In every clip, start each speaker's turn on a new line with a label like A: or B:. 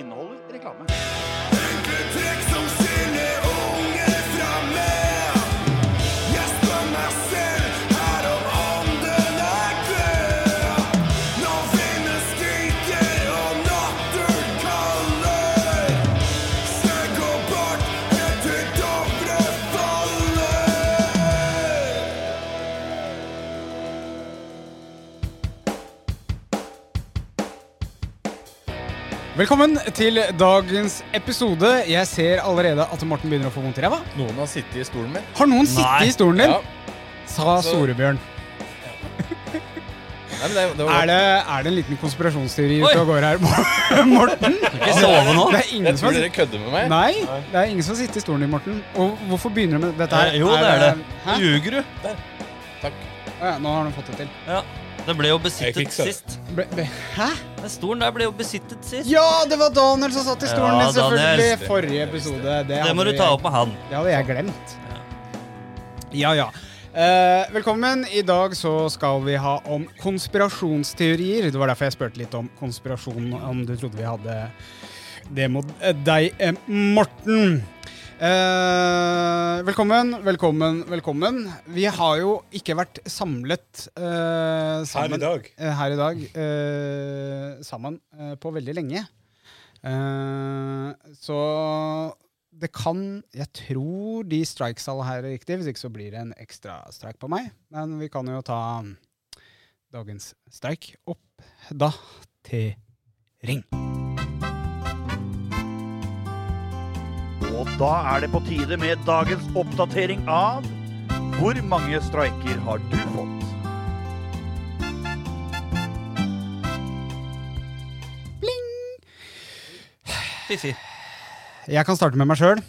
A: Inneholder reklame.
B: Trekk som skiller unge fra meg. Jeg spør meg selv her om ånden er død. Nå vinden skriker og natten kaller. Snø går bort helt til Dovre faller.
C: Velkommen til dagens episode. Jeg ser allerede at Morten begynner å få vondt i ræva.
D: Noen har sittet i stolen min.
C: Har noen sittet i stolen din?
D: Ja.
C: Sa
D: Så-
C: Storebjørn.
D: Nei, men det, det var
C: Er det, er det en liten konspirasjonsteori ute og går her, Morten? Det er
D: Jeg
C: ingen som har
D: tror dere kødder med meg.
C: Nei, det er ingen som har sittet i stolen din, Morten. Og hvorfor begynner du med dette her?
E: Eh, jo, det er det.
C: Hæ?
E: Ljuger du?
D: Takk.
C: Å ja, nå har han fått det til.
E: Ja. Det ble jo
D: Jeg fikk
E: besittet
D: så-
E: sist.
C: Ble, ble, hæ?
E: Den stolen der ble jo besittet sist.
C: Ja, det var Daniel som satt i stolen
E: Ja,
C: din, selvfølgelig.
E: Daniel.
C: Forrige episode. Det,
E: Det må
C: hadde
E: du
C: vi-
E: ta opp med han.
C: Det hadde jeg glemt. Ja, ja. Eh, velkommen. I dag så skal vi ha om konspirasjonsteorier. Det var derfor jeg spurte litt om konspirasjon, om du trodde vi hadde det mot eh, deg, eh, Morten. Eh, velkommen, velkommen, velkommen. Vi har jo ikke vært samlet eh, sammen,
F: Her i dag.
C: eh, her i dag eh, sammen eh, på veldig lenge. Eh, så det kan Jeg tror de strikes alle her er riktig, hvis ikke så blir det en ekstra streik på meg. Men vi kan jo ta mm, dagens streik opp da til ring.
A: Og da er det på tide med dagens oppdatering av Hvor mange streiker har du fått?
E: Fiffi.
C: Jeg kan starte med meg sjøl.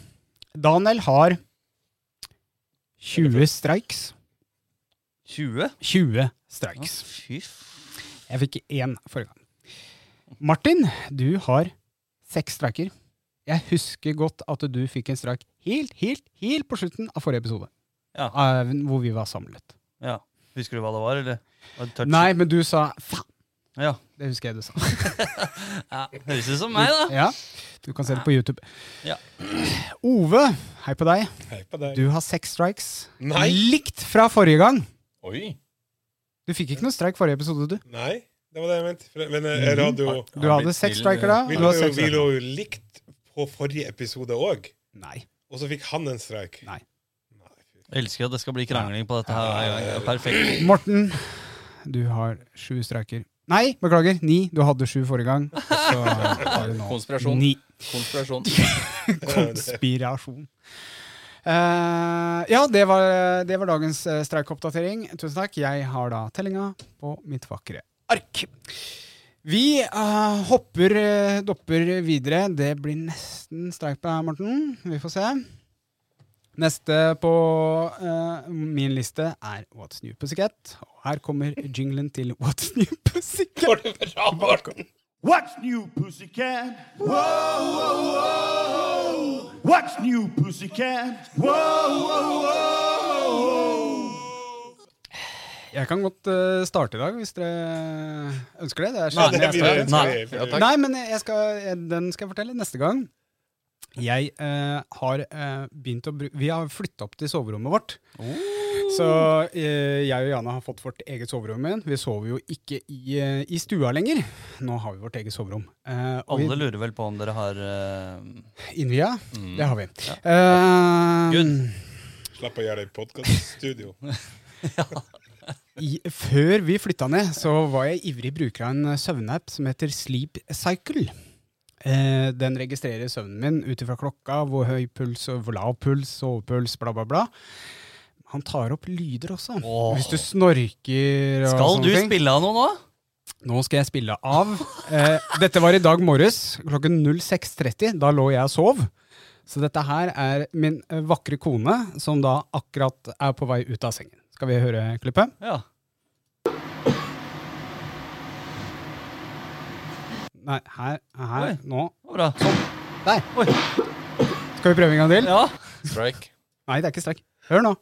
C: Daniel har 20 strikes.
E: 20?
C: 20
E: Å,
C: strikes.
E: Fy f...
C: Jeg fikk én forrige gang. Martin, du har seks streiker. Jeg husker godt at du fikk en streik helt, helt, helt på slutten av forrige episode.
E: Ja.
C: Eh, hvor vi var samlet.
E: Ja. Husker du hva det var, eller? Var det touch?
C: Nei, men du sa faen.
E: Ja.
C: Det husker jeg du sa.
E: ja. Høres ut som meg, da.
C: Ja, Du kan se det på YouTube.
E: Ja.
C: Ove, hei på deg.
F: Hei på deg.
C: Du har seks strikes.
F: Nei.
C: Likt fra forrige gang.
D: Oi.
C: Du fikk ikke noen streik forrige episode, du.
F: Nei, det var det jeg mente. Men eh,
D: Mhm.
F: jeg hadde jo
C: Du
D: Ja,
C: hadde
D: litt
C: seks
D: til,
C: striker da.
F: vi
C: Du
F: lå,
C: har
F: jo,
C: seks
F: vi
C: striker.
F: lå jo likt på forrige episode òg,
C: Nei.
F: og så fikk han en streik.
C: Nei.
E: Jeg elsker at det skal bli krangling på dette her. hver gang. Det er Perfekt.
C: Morten, du har sju streiker. Nei, beklager, ni. Du hadde sju forrige gang. og Så har du nå
D: Konspirasjon.
C: ni.
D: Konspirasjon.
C: Konspirasjon. Eh, ja, det var, det var dagens eh, streikoppdatering. Tusen takk. Jeg har da tellinga på mitt vakre ark. Vi eh, hopper eh, dopper videre. Det blir nesten streik på deg, Morten. Vi får se. Neste på eh, min liste er What's New Pussycat. Og her kommer jinglen til What's New Pussycat.
D: Var det bra, Morten?
A: What's new, pussycat? Whoa, whoa, whoa. What's new, pussycat? Whoa, whoa, whoa.
C: Jeg kan godt eh, starte i dag, hvis dere ønsker det. Det er
F: Ja, det
C: sjelden jeg
F: blir det.
C: starter.
E: Nei.
F: Skal vi-
D: Takk.
C: Ah, Nei, men jeg skal, eh, den skal jeg fortelle neste gang. Jeg eh, har eh, begynt å bruke Vi har flytta opp til soverommet vårt. Så eh, jeg og Jana har fått vårt eget soverom igjen. Vi sover jo ikke i, eh, i stua lenger. Nå har vi vårt eget soverom. Eh, og
E: Alle lurer vel på om dere har eh,
C: vi innvia. Det har vi. Eh,
E: Good.
F: Slapp å gjøre det i podkaststudio.
C: i, før vi flytta ned, så var jeg ivrig bruker av en søvnapp som heter Sleep Cycle. Eh, den registrerer søvnen min ut ifra klokka, hvor høy puls, og hvor lav puls, sovepuls, bla, bla, bla. Han tar opp lyder også.
E: Åh.
C: Hvis du snorker og
E: Skal
C: sånne
E: du
C: ting.
E: spille av noe nå?
C: Nå skal jeg spille av. Eh, dette var i dag morges klokken 06.30. Da lå jeg og sov. Så dette her er min eh, vakre kone, som da akkurat er på vei ut av sengen. Skal vi høre klippet?
E: Ja.
C: Nei, her. her
E: Oi.
C: Nå.
E: Bra. Sånn.
C: Der.
E: Oi.
C: Skal vi prøve en gang til?
E: Ja.
D: Strike.
C: Nei, det er ikke streik. Hør nå.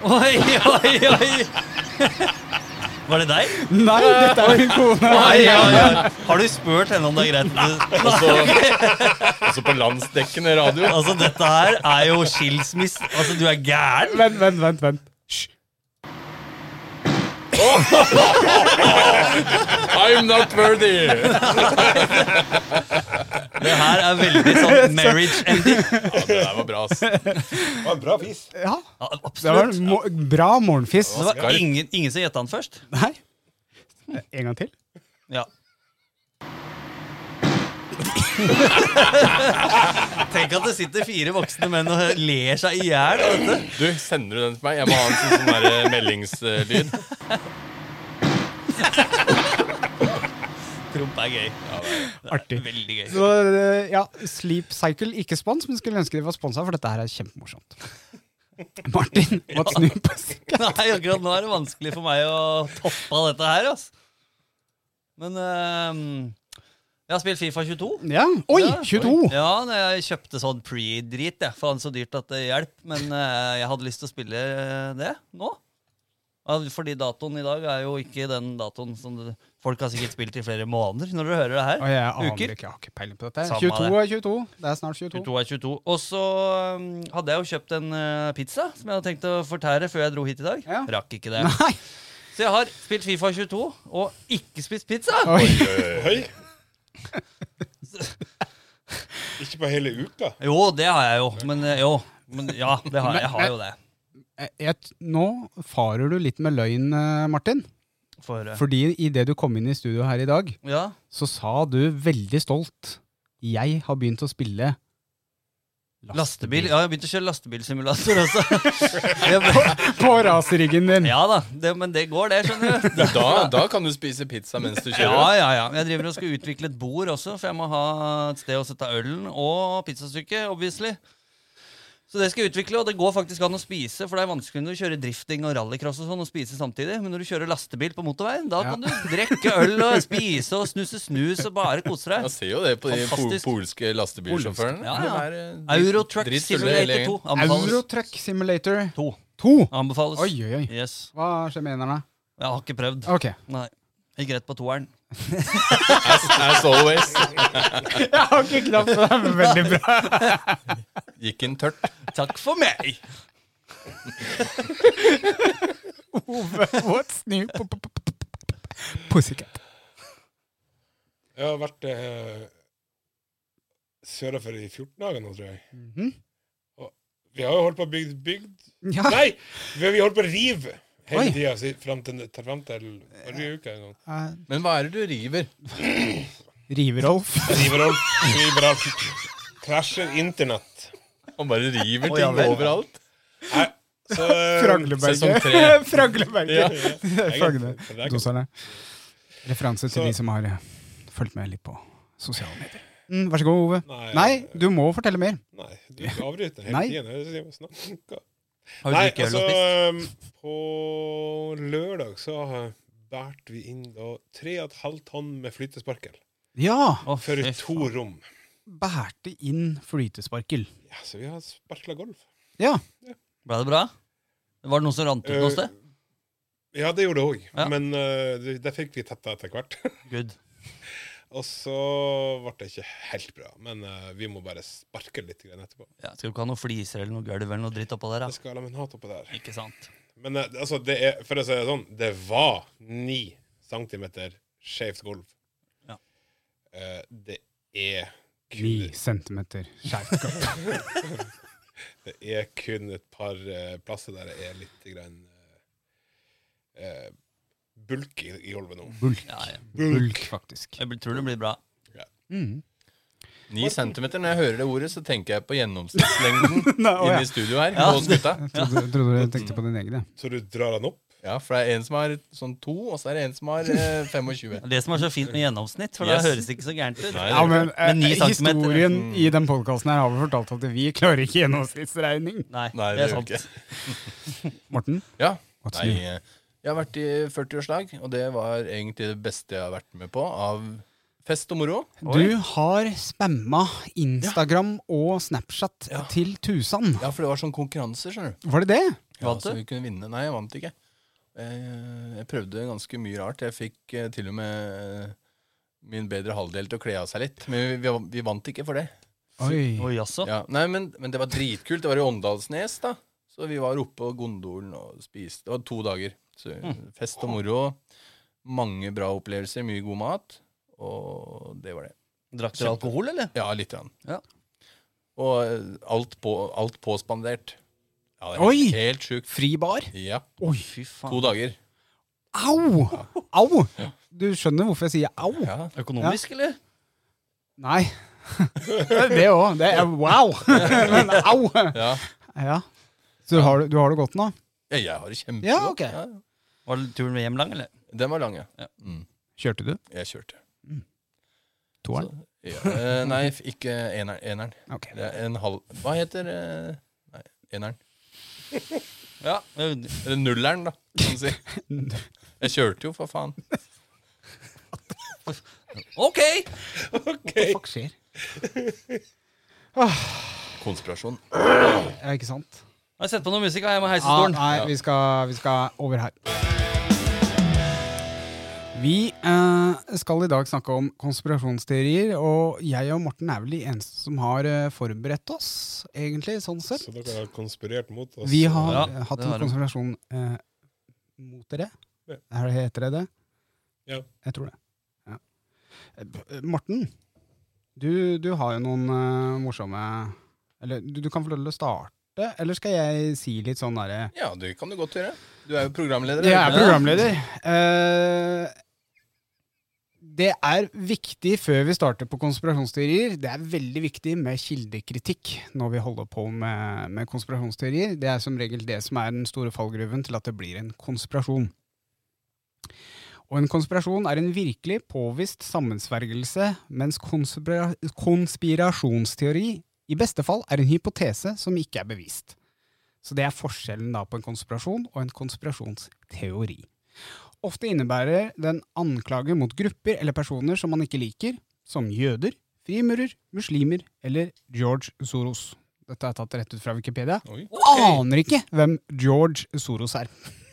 E: Oi, oi, oi. Var det deg?
C: Nei, dette er min kone.
E: Oi, oi, oi. Har du spurt henne om det er greit? at du-
D: Også, også Altså, på landsdekkende radio.
E: Altså, dette her er jo skilsmiss... Altså, du er gæren.
C: Vent, vent, vent. vent. Hysj.
D: I'm not worthy!
E: Det her er veldig sånn marriage ending.
D: Ja, det der var bra, ass.
F: Det var en bra fis.
C: Ja,
E: Ja,
C: det var
E: absolutt.
C: en mo bra morgenfiss.
E: Det var Altså, ingen, ingen som gjetta den først.
C: Nei. En gang til.
E: Ja. Tenk at det sitter fire voksne menn og ler seg i hjel av dette.
D: Du, sender du den til meg? Jeg må ha en sånn, sånn der, eh, meldingslyd.
E: Promp er gøy.
C: Artig.
E: Veldig gøy.
C: Så eh, ja, Sleep Cycle, ikke spons, men skulle ønske de var sponsa, for dette her er kjempemorsomt. Martin, måtte snu på sekken.
E: Nei, akkurat nå er det vanskelig for meg å toppe av dette her, ass. Men ehm, jeg har spilt Fifa 22.
C: Ja. Oi,
E: Ja.
C: 22!
E: Ja, når jeg kjøpte sånn pre-drit, jeg. Faen, så dyrt at det hjelp. Men eh, jeg hadde lyst til å spille eh, det nå. Ja, Fordi datoen i dag er jo ikke den datoen som det, folk har sikkert spilt i flere måneder. når dere hører det her.
C: Og jeg aner
E: Uker.
C: ikke, jeg har ikke peiling på dette.
E: Samme
C: 22 er 22. Det er snart 22.
E: 22 er 22. Og så um, hadde jeg jo kjøpt en eh, pizza som jeg hadde tenkt å fortære før jeg dro hit i dag.
C: Ja.
E: Rakk ikke det.
C: Nei!
E: Så jeg har spilt Fifa 22 og ikke spist pizza.
C: Oi.
D: Eh.
F: Høy. Ikke på hele uka.
E: Jo, det har jeg jo. Men eh, jo. Men ja, det har jeg. jeg har jo det.
C: Eh, Jeg- Jeg, nå farer du litt med løgn, eh, Martin.
E: Få høre.
C: Fordi idet du kom inn i studio her i dag,
E: eh, Ja.
C: så sa du veldig stolt 'Jeg har begynt å spille
E: Lastebil. Ja, jeg har begynt å kjøre lastebilsimulator også. Jeg-
C: På raseryggen din!
E: ja da, det, men det går, det, skjønner du.
D: Da, da kan du spise pizza mens du
E: Ja,
D: kjører.
E: ja, ja. Jeg driver og skal utvikle et bord også, for jeg må ha et sted å sette ølen og pizzastykket, obviously. Så det skal jeg utvikle, og det går faktisk an å spise, for det er vanskelig når du kjører drifting og rallycross og sånn og spise samtidig, men når du kjører lastebil på motorveien, da
C: Ja.
E: kan du drikke øl og spise og snuse snus og bare kose
D: Jeg
E: deg.
D: ser jo det på de po
E: Fantastisk.
D: polske lastebilsjåførene.
E: Ja, ja.
D: Det er, eh, dritt-
E: Eurotruck
D: drittfulle
E: Simulator
D: hele gjengen.
E: 2 anbefales.
C: Eurotruck Simulator
E: To.
C: 2.
E: Anbefales.
C: Oi, oi, oi.
E: Yes.
C: Hva skjer med enerne?
E: Jeg har ikke prøvd.
C: Ok.
E: Nei. Gikk rett på toeren.
D: As always.
C: Jeg har ikke knapt det. er Veldig bra.
D: Gikk inn tørt.
E: Takk for meg!
C: Ove, what's new? P- p- p- p- p- Pussycat.
F: Jeg har vært eh, sørafor i 14 dager nå, tror jeg. Og vi har jo holdt på å bygge bygd
C: Ja.
F: Nei! Vi har holdt på å rive
C: Oi.
F: hele tida fram til, til, frem til forrige uke. eller noe.
C: Eh,
D: Men hva er det du river?
C: River-Rolf.
E: Eh,
F: River alt. River alt. Krasjer internett.
D: Han bare river
E: Å,
D: ting
E: ja vel.
D: overalt.
F: Nei, så eh,
D: sesong
C: Fragleberget.
D: tre.
C: Fragleberget.
D: Ja.
C: Fragne.
F: for det er ikke-
C: Doserne. Referanse til
F: Så-
C: de som har eh, fulgt med litt på sosiale medier. Mm, vær så god, Ove.
F: Nei.
C: Nei, du må fortelle mer.
F: Nei, du avbryter
C: Nei.
F: hele tiden. Snakk.
E: Har du
F: Nei,
E: drukket øl
F: altså
E: og spist?
F: um, På lørdag så uh, bærte vi inn da 3,5 tonn med flytesparkel
C: Ja!
E: Å,
F: for
E: fy
F: to
E: faen.
F: rom.
C: Bærte inn flytesparkel.
F: Ja, så vi har sparkla golf.
C: Ja.
E: Ble det bra? Var det noen som rant ut noe
F: Eh,
E: sted?
F: Ja, det gjorde det òg,
E: Ja.
F: men uh, det, det fikk vi tetta etter hvert.
E: Good.
F: Og så ble det ikke helt bra, men uh, vi må bare sparke litt grann etterpå.
E: Ja, skal du ikke ha noe fliser eller noe gulv eller noe dritt oppå der? altså.
F: Det
E: da?
F: skal laminat oppå der.
E: Ikke sant?
F: Men uh, altså, det er, for å si det sånn, det var 9 centimeter skjevt gulv.
E: Ja.
F: Uh, det er kun
C: Ni centimeter skjærgård.
F: Det er kun et par eh, plasser der det er litt grann, eh, eh, bulk i, i gulvet nå.
C: Bulk.
E: Ja, ja.
C: Bulk, faktisk.
E: Jeg bl- tror det blir bra.
C: Mm.
D: Ni centimeter. Når jeg hører det ordet, så tenker jeg på gjennomsnittslengden
C: Nei, å,
D: inne
C: ja.
D: i studio her.
E: Ja,
D: hos gutta.
C: Jeg trodde, trodde du tenkte på din egen, ja.
F: Så du drar den opp.
D: Ja, for det er en som har sånn to, og så er det en som har eh, 25.
E: Det som er så fint med gjennomsnitt, for
D: Yes.
E: da høres det ikke så gærent ut.
D: Nei.
C: Ja, men, eh,
E: Men ni centimeter.
C: historien
F: Mm.
C: i den podkasten her har vi fortalt at vi klarer ikke gjennomsnittsregning.
E: Nei,
D: Nei,
E: det er
D: det gjør
E: sant.
D: ikke.
C: Morten,
D: Ja.
C: what's
D: Nei,
C: new?
D: eh, Jeg har vært i 40-årslag, og det var egentlig det beste jeg har vært med på av fest og moro.
C: Du har spamma Instagram og Snapchat
D: Ja.
C: til tusen.
D: Ja, for det var sånn konkurranser, skjønner du.
C: Var det det?
D: Ja,
E: Vant
D: så
E: du?
D: vi kunne vinne. Nei, jeg vant ikke. Eh, Jeg prøvde ganske mye rart. Jeg fikk eh, til og med eh, min bedre halvdel til å kle av seg litt. Men vi, vi, vi vant ikke for det.
C: Oi.
E: Oi, jaså.
D: Ja, nei, men, men det var dritkult. Det var i Åndalsnes, da. Så vi var oppe på Gondolen og spiste. Det var to dager. Så
E: Mm.
D: fest og moro. Mange bra opplevelser, mye god mat. Og det var det.
E: Drakk dere alkohol, eller?
D: Ja, litt. Grann.
E: Ja.
D: Og eh, alt, på, alt påspandert. Ja, det er
C: Oi!
D: Helt, helt sjukt.
C: Fri bar?
D: Ja.
C: Oi.
E: Fy
D: To
E: faen.
D: dager.
C: Au! Au! Du skjønner hvorfor jeg sier au?
D: Ja.
E: Økonomisk, eller?
C: Nei. Det òg. Det er wow! Men au!
D: Ja.
C: Ja. Så du har, det- du har det godt nå?
D: Ja, Jeg har det kjempegodt.
C: Ja, ok.
E: Var turen hjem lang, eller?
D: Den var lang, ja.
E: Ja.
D: Mm.
C: Kjørte du
D: Jeg kjørte.
C: toeren?
D: Ja. eh, Nei, f- ikke eneren. eneren.
C: Ok.
D: Det er en halv Hva heter eh, Nei, eneren.
E: Ja. eh,
D: Eller nulleren, da, kan du si. Jeg kjørte jo, for faen.
E: OK!
C: Fuck skjer?
D: Konspirasjon.
C: Ja, ikke sant?
E: Har jeg sett på noe musikk? Jeg må heise
C: Ah,
E: stolen.
C: nei, vi skal, vi skal over her. Vi eh, skal i dag snakke om konspirasjonsteorier, og jeg og Morten er vel de eneste som har eh, forberedt oss, egentlig, sånn sett.
F: Så dere har konspirert mot oss?
C: Vi har
E: Ja,
C: eh, hatt
E: det
C: en
E: har de.
C: konspirasjon eh, mot dere.
F: Ja.
C: Er det heter det det?
F: Ja.
C: Jeg tror det. Ja. Eh, b- Morten, du, du har jo noen eh, morsomme Eller du, du kan få lov til å starte, eller skal jeg si litt sånn derre
D: Ja, det kan du godt gjøre. Du er jo programleder.
C: Jeg er
D: ikke det?
C: programleder. Eh, det er viktig før vi starter på konspirasjonsteorier. Det er veldig viktig med kildekritikk når vi holder på med, med konspirasjonsteorier. Det er som regel det som er den store fallgruven til at det blir en konspirasjon. Og en konspirasjon er en virkelig påvist sammensvergelse, mens konspira konspirasjonsteori i beste fall er en hypotese som ikke er bevist. Så det er forskjellen da på en konspirasjon og en konspirasjonsteori. Ofte innebærer den anklager mot grupper eller personer som man ikke liker, som jøder, frimurer, muslimer eller George Soros. Dette er tatt rett ut fra Wikipedia.
D: Oi.
C: Aner ikke hvem George Soros er.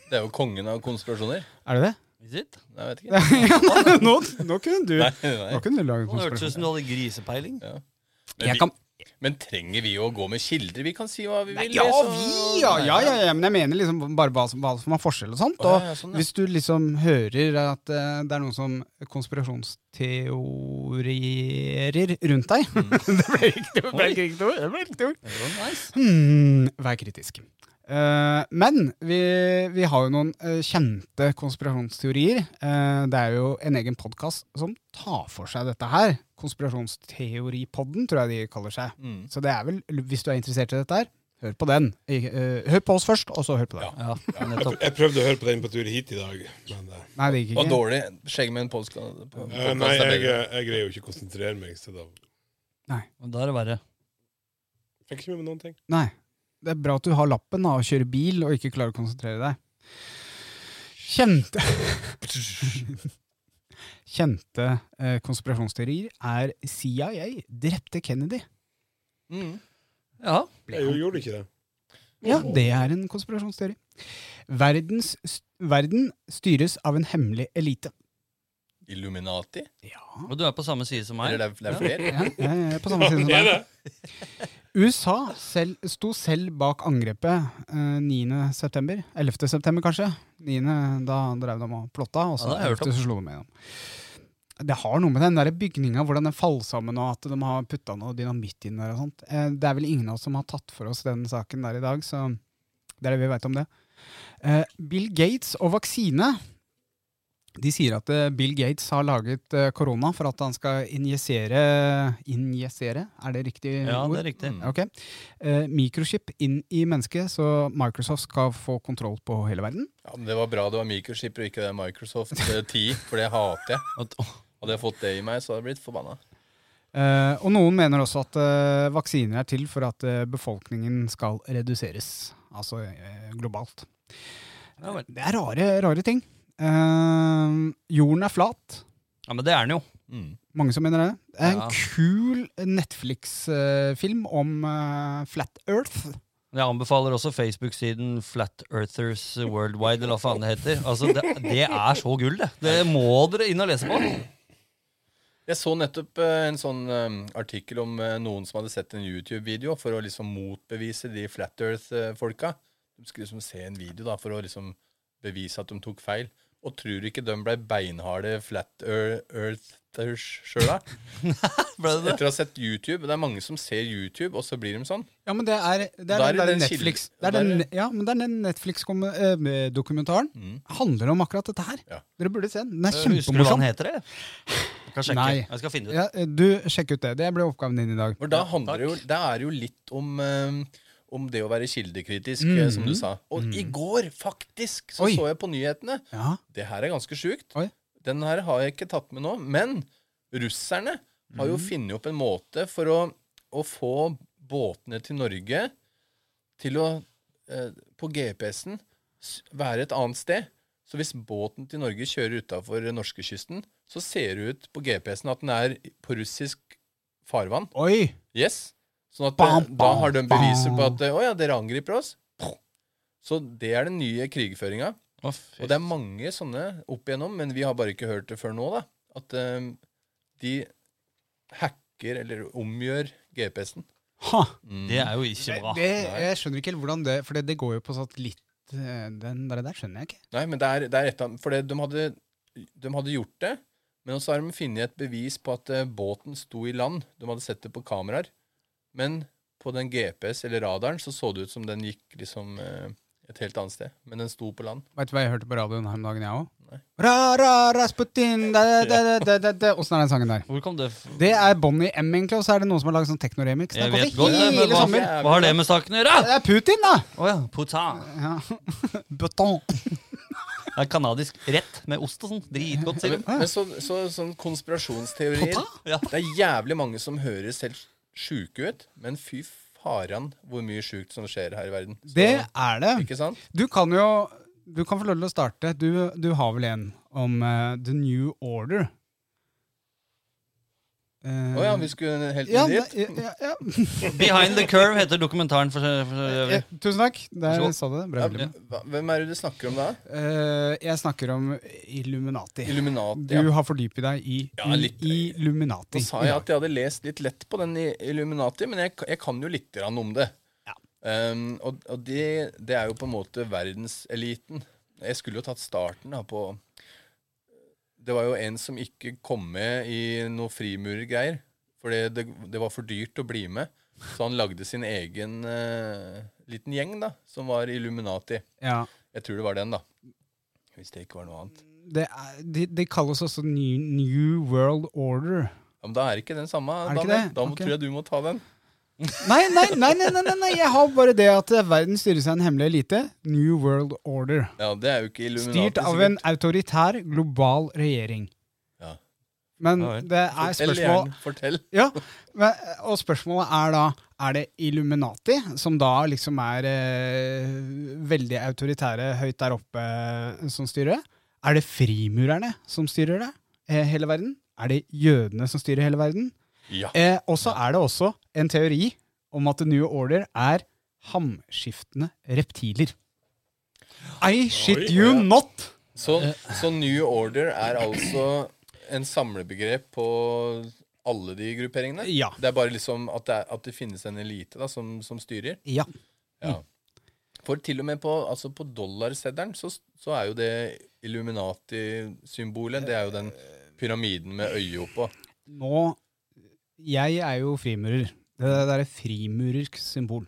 D: Det er jo kongen av konspirasjoner.
C: Er det det?
E: Is it?
D: Nei, Jeg vet ikke.
C: nå, nå kunne du
D: Nei,
C: Nå
D: nei.
C: kunne du lage
E: Det hørtes ut
C: konspirasjon.
E: som du hadde grisepeiling.
D: Ja. Men,
C: Jeg kan,
D: vi, men trenger vi å gå med kilder? Vi kan si hva vi vil. liksom-
C: ja,
D: så-
C: vi, ja, ja, ja, ja, men jeg mener liksom bare hva som, hva som er forskjell og sånt.
D: Å,
C: Og
D: ja, ja, sånn, ja.
C: Hvis du liksom hører at eh, det er noen som konspirasjonsteorierer rundt deg
D: Mm.
C: Det ble riktig det ble riktig ord. Det ble riktig ord.
E: Det var nice.
C: Hmm, vær kritisk. Eh, men vi, vi har jo noen eh, kjente konspirasjonsteorier. Eh, det er jo en egen podkast som tar for seg dette her. Konspirasjonsteoripodden, tror jeg de kaller seg.
D: Mm.
C: Så det er vel, hvis du er interessert i dette her, hør på den. Ikke- eh, hør på oss først, og så hør på den.
E: Ja,
F: Jeg,
E: nettopp.
F: jeg prøvde å høre på den på tur hit i dag, men eh,
C: Nei, det gikk
D: Og
C: ikke.
D: dårlig. Skjegg med en polsk
F: eh, Nei, jeg, jeg greier jo ikke å konsentrere meg, så da
E: Men Da er det verre.
F: fikk ikke med meg noen ting.
C: Nei. Det er bra at du har lappen da, og kjører bil og ikke klarer å konsentrere deg. Kjente Kjente eh, konspirasjonsteorier er CIA drepte Kennedy.
D: Mm.
E: Ja.
C: Ble
F: Jeg
C: han-
F: gjorde ikke det.
C: Ja, det er en konspirasjonsteori. Verdens, st- verden styres av en hemmelig elite.
D: Illuminati?
C: Ja,
E: Og du er på samme side som meg.
D: Eller det er, det er flere?
C: ja, ja, ja på
E: sånn.
C: samme side som deg. USA selv, sto selv bak angrepet eh, 9. september. 11. september, kanskje. 9. Da drev de og plotta, og så,
E: Ja, det har jeg hørt
C: 11. så slo de igjennom. Det har noe med den der bygninga, hvordan den faller sammen, og at de har putta noe dynamitt inn der og sånt. Eh, det er vel ingen av oss som har tatt for oss den saken der i dag, så det er det vi veit om det. Eh, Bill Gates og vaksine. De sier at eh, Bill Gates har laget eh, korona for at han skal injisere Injisere? Er det riktig
E: Ja,
C: ord?
E: det er riktig.
C: Ok. Eh, mikrochip inn i mennesket, så Microsoft skal få kontroll på hele verden.
D: Ja, men det var bra det var mikroskipper og ikke det er Microsoft eh, 10, for det hater jeg.
E: At, åh,
D: Hadde jeg fått det i meg, så hadde jeg blitt forbanna.
C: Eh, og noen mener også at eh, vaksiner er til for at eh, befolkningen skal reduseres, altså eh, globalt.
E: Ja, vel.
C: Det er rare, rare ting. Eh, jorden er flat.
E: ja, men det er den jo.
D: Mm.
C: Mange som mener det. Det er en
E: Ja.
C: kul Netflix-film om eh, Flat Earth.
E: Men Jeg anbefaler også Facebook-siden Flat Earthers Worldwide, eller hva faen det heter. Altså, det, det er så gull, det. Det må dere inn og lese på.
D: Jeg så nettopp eh, en sånn eh, artikkel om eh, noen som hadde sett en YouTube-video for å liksom motbevise de Flat Earth-folka. De skulle liksom se en video da, for å liksom bevise at de tok feil. Og tror du ikke de ble beinharde Flat Ear- Earthers sjøl, da?
E: Ble det det?
D: Etter å ha sett YouTube. Det er mange som ser YouTube, og så blir de sånn.
C: Ja, men det er, det er
D: Da
C: den
D: er det
C: der
D: den
C: Netflix
D: kilden-
C: det er
D: da er
C: den,
D: det-
C: Ja, men det er den Netflix-dokumentaren. Handler om akkurat dette her.
D: Ja.
C: Dere burde se den. Den er
E: Husker du hva
C: kjempemorsom.
E: den heter, eller? Jeg kan sjekke.
C: Nei.
E: Jeg skal finne det ut.
C: Ja, eh, du, sjekk ut det. Det ble oppgaven din i dag.
D: For da handler det jo, da er det jo litt om, eh, om det å være kildekritisk, eh, som du sa. Og i går, faktisk, så
C: Mm. Oi.
D: så jeg på nyhetene.
C: Ja.
D: Det her er ganske sjukt.
C: Oi.
D: Den her har jeg ikke tatt med nå. Men russerne har
C: Mm.
D: jo funnet opp en måte for å, å få båtene til Norge til å eh, på GPS-en s- være et annet sted. Så hvis båten til Norge kjører utafor norskekysten, så ser det ut på GPS-en at den er på russisk farvann.
C: Oi!
D: Yes. Sånn at
C: Bam,
D: eh, da
C: bam,
D: har de beviser på
C: bam.
D: at eh, å ja, dere angriper oss. Så det er den nye krigføringa.
E: Å, fy.
D: Og det er mange sånne opp igjennom, men vi har bare ikke hørt det før nå, da. At eh, de hacker eller omgjør GPS-en.
C: Ha.
D: Mm.
E: Det er jo ikke bra.
C: Det, jeg skjønner ikke helt hvordan det For det, det går jo på satellitt eh, Den der, der skjønner jeg ikke.
D: Nei, men det er, det er et av For det, de, hadde, de hadde gjort det, men så har de funnet et bevis på at eh, båten sto i land. De hadde sett det på kameraer. Men på den GPS eller radaren så så det ut som den gikk liksom eh, et helt annet sted. Men den sto på land.
C: Veit du hva jeg hørte på radioen her om dagen, jeg òg? Ra, ra, Rasputin da, da, da, da, da, da. Åssen er den sangen der?
E: Hvor kom det f-
C: Det er Bonnie M, egentlig, og så er det noen som har lagd sånn teknoremix. Den
E: Jeg
C: kom
E: vet
C: det
E: godt det, men
C: hele
E: hva,
C: sommer.
E: hva har det med saken å gjøre?
C: Det er Putin, da!
E: Å ja. Potin.
C: Ja. Buton.
E: Det er kanadisk rett med ost og sånn. Dritgodt, sier de.
D: Men så, så sånn konspirasjonsteorier
E: Ja.
D: Det er jævlig mange som høres helt sjuke ut, men fy faran hvor mye sjukt som skjer her i verden. Så,
C: Det er det.
D: Ikke sant?
C: Du kan jo Du kan få lov til å starte. Du, du har vel en om eh, The New Order? Eh,
D: Å ja, vi skulle helt
C: ja,
D: dit.
C: ja, ja, ja.
E: Behind the Curve heter dokumentaren. For, for
C: Eh, Tusen takk. Der
E: Vær så god.
C: sa du det. Bra,
D: Ja,
C: Wilhelm.
D: hva- Hvem er det du snakker om da?
C: Eh, jeg snakker om Illuminati.
D: Illuminati.
C: Du
D: Ja.
C: har fordypet deg i
D: Ja, litt.
C: Illuminati.
D: Så sa jeg at jeg hadde lest litt lett på den i- Illuminati, men jeg, jeg kan jo litt grann om det.
C: Ja.
D: Um, og og det, det er jo på en måte verdenseliten. Jeg skulle jo tatt starten da på Det var jo en som ikke kom med i noe frimurergreier. For det, det, det var for dyrt å bli med. Så han lagde sin egen eh, liten gjeng, da, som var Illuminati.
C: Ja.
D: Jeg tror det var den, da. Hvis det ikke var noe annet.
C: Det er, de, de kalles også New, New World Order.
D: Ja, men da er det ikke den samme,
C: Er det ikke det?
D: Daniel. Da må,
C: Ok.
D: tror jeg du må ta den.
C: Nei, nei, nei, nei, nei, nei, nei. jeg har bare det at eh, verden styres av en hemmelig elite. New World Order.
D: Ja, det er jo ikke Illuminati.
C: Styrt av
D: sikkert.
C: en autoritær global regjering.
D: Ja.
C: Men
E: Ja vel.
C: det er
D: Eller
C: spørsmål
D: gjerne fortell.
C: ja, men, Og spørsmålet er da Er det Illuminati, som da liksom er eh, veldig autoritære høyt der oppe, eh, som styrer det? Er det frimurerne som styrer det? Eh, hele verden? Er det jødene som styrer hele verden?
D: Ja.
C: Eh, og så er det også en teori om at The New Order er hamskiftende reptiler. I shit you not!
D: Så, så New Order er altså en samlebegrep på alle de grupperingene?
C: Ja.
D: Det er bare liksom at det, er, at det finnes en elite da, som, som styrer?
C: Ja.
D: Ja. For til og med på, altså på dollarseddelen så, så er jo det Illuminati-symbolet Det er jo den pyramiden med øyet oppå.
C: Nå Jeg er jo frimurer. Det der er et frimurersk symbol.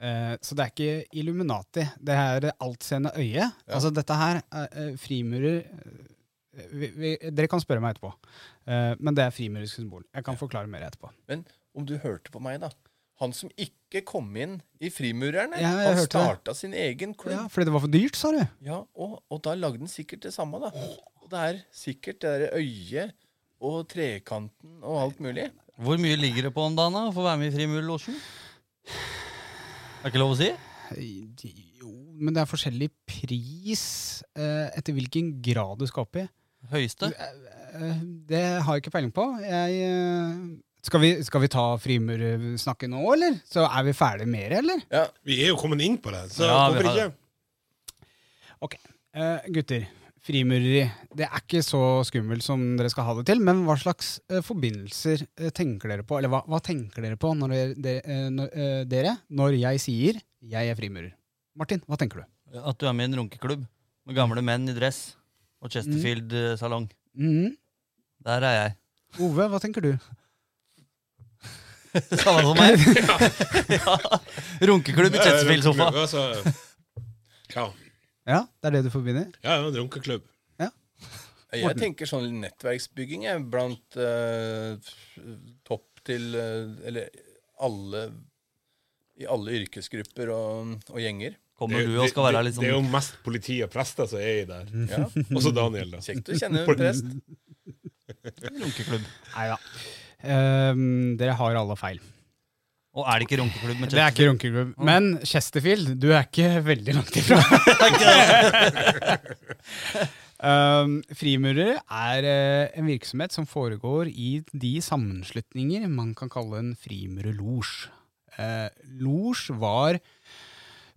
C: Eh, så det er ikke Illuminati. Det er det altseende øyet. Altså, dette her er eh, frimurer eh, vi, vi, Dere kan spørre meg etterpå, Eh, men det er frimurersk symbol. Jeg kan forklare mer etterpå.
D: Men om du hørte på meg, da. Han som ikke kom inn i Frimurerne,
C: Ja, jeg
D: han
C: hørte det.
D: starta sin egen klubb.
C: Ja, fordi det var for dyrt, sa du?
D: Ja, og, og da lagde den sikkert det samme, da. Og det er sikkert det derre øyet og trekanten og alt mulig.
E: Hvor mye ligger det på om dagen da, for å være med i Frimurlosjen? Er ikke lov å si?
C: Jo, men det er forskjellig pris eh, etter hvilken grad du skal opp i.
E: Høyeste?
C: Eh, Det har jeg ikke peiling på. Jeg, eh, skal, vi, skal vi ta frimursnakket nå, eller? Så er vi ferdige med det, eller?
F: Vi er jo kommet inn på det, så
E: Ja, vi
F: hvorfor
E: har
F: ikke?
E: det.
C: Eh, gutter, frimureri. Det er ikke så skummelt som dere skal ha det til, men hva slags eh, forbindelser eh, tenker dere på? Eller hva, hva tenker dere på når dere, dere, eh, når, eh, dere når jeg sier 'jeg er frimurer'? Martin, hva tenker du?
E: At du er med i en runkeklubb med gamle menn i dress og Chesterfield-salong.
C: Mhm.
E: Der er jeg.
C: Ove, hva tenker du?
E: Samme som meg. ja. Runkeklubb i Chesterfield-sofa.
F: Runkeklubb, altså. Ja,
C: Ja, det er det du forbinder?
F: ja, en runkeklubb.
D: Jeg tenker sånn nettverksbygging jeg, blant eh, topp til eh, Eller alle I alle yrkesgrupper og, og gjenger.
E: Kommer du og skal være litt
F: det, det er
E: sånn
F: jo mest politi og prester som er i der.
D: Ja.
F: Også Daniel, da.
D: Kjekt å kjenne en prest.
E: runkeklubb?
C: Nei da. Ehm, dere har alle feil.
E: Og er det ikke runkeklubb med
C: Det er ikke
E: Chesterfield?
C: runkeklubb. Men Chesterfield, du er ikke veldig langt ifra. um, frimurere er eh, en virksomhet som foregår i de sammenslutninger man kan kalle en frimurerlosj. Uh, Losj var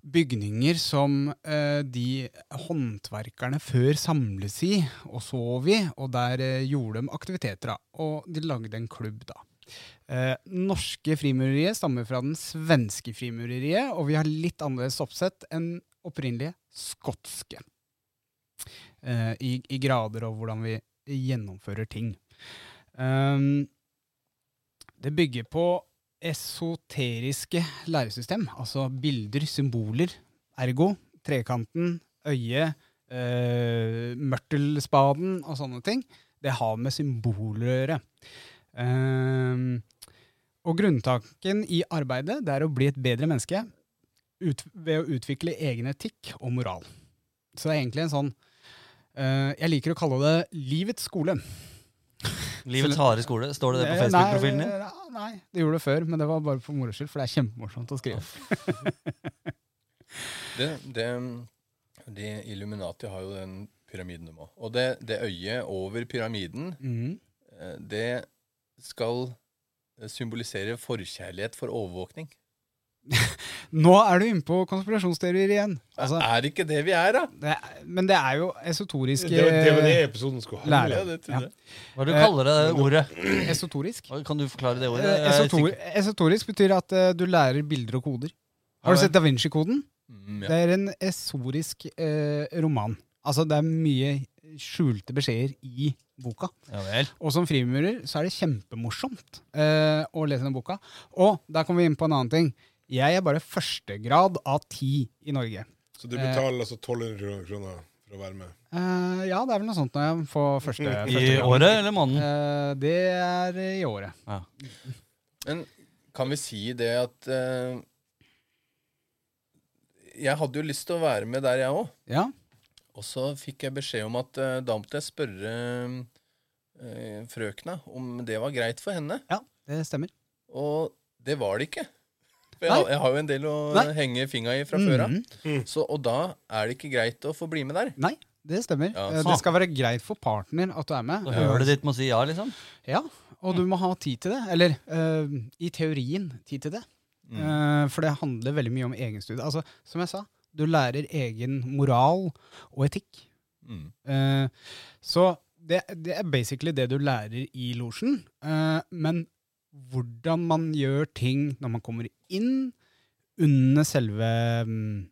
C: bygninger som eh, de håndverkerne før samles i og sov i, og der eh, gjorde de aktiviteter. da. Og de lagde en klubb, da. Eh, norske frimureriet stammer fra den svenske frimureriet, og vi har litt annerledes oppsett enn opprinnelige skotske. Eh, i, I grader og hvordan vi gjennomfører ting. Ehm, det bygger på esoteriske læresystem, altså bilder, symboler, ergo trekanten, øyet, eh, mørtelspaden og sånne ting. Det har med symboler å gjøre. Ehm, og grunntanken i arbeidet det er å bli et bedre menneske ut, ved å utvikle egen etikk og moral. Så det er egentlig en sånn eh, Jeg liker å kalle det livets skole.
E: Livets harde skole? Står det det på
C: Eh,
E: Facebook-profilen din?
C: Nei, nei, det gjorde det før, men det var bare for moro skyld, for det er kjempemorsomt å skrive.
D: Det, det, de Illuminati har jo den pyramiden de må. Og det, det øyet over pyramiden,
C: Mhm.
D: eh, det skal eh, symbolisere forkjærlighet for overvåkning.
C: Nå er du inne på konspirasjonsteorier ign. Altså,
D: er det ikke det vi er, da?
C: det er, men det er jo esotorisk
F: Det, var- det var det
C: eh,
F: episoden skulle handle om.
C: lære.
D: Ja, det trodde jeg.
E: Hva er det du
C: Eh,
E: kaller det ordet?
C: Esotorisk.
E: Hva- Kan du forklare det ordet?
C: Eh,
E: Jeg er
C: Esotor,
E: sikker-
C: esotorisk betyr at eh, du lærer bilder og koder. Har
D: Ja,
C: du sett Da Vinci-koden?
D: Mm,
C: Det
D: ja.
C: er en esorisk eh, roman. Altså, det er mye skjulte beskjeder i boka.
E: Ja vel.
C: Og som frimurer så er det kjempemorsomt eh, å lese den boka. Og der kommer vi inn på en annen ting. Jeg er bare førstegrad av ti i Norge.
F: Så du betaler altså 1200 kroner for å være med.
C: Eh, ja, det er vel noe sånt når jeg får første,
E: I
C: første grad.
E: året eller måneden?
C: Eh, det er i året.
D: Men kan vi si det at eh, Jeg hadde jo lyst til å være med der, jeg òg.
C: Ja.
D: Og så fikk jeg beskjed om at eh, da måtte jeg spørre eh, frøkna om det var greit for henne.
C: ja, det stemmer.
D: Og det var det ikke. For
C: Nei.
D: jeg, jeg har jo en del å
C: Nei.
D: henge fingra i fra før av.
C: Mhm.
D: Så- Og da er det ikke greit å få bli med der.
C: Nei, det stemmer.
D: Ja.
C: Eh, det skal være greit for partner at du er med.
E: Så hører du ditt med å si ja, liksom?
C: Ja, og du må ha tid til det. Eller eh, i teorien tid til det. Eh, for det handler veldig mye om egenstudie. Altså, som jeg sa, du lærer egen moral og etikk.
D: Mm.
C: Eh, så det, det er basically det du lærer i losjen. eh, men hvordan man gjør ting når man kommer inn under selve mm,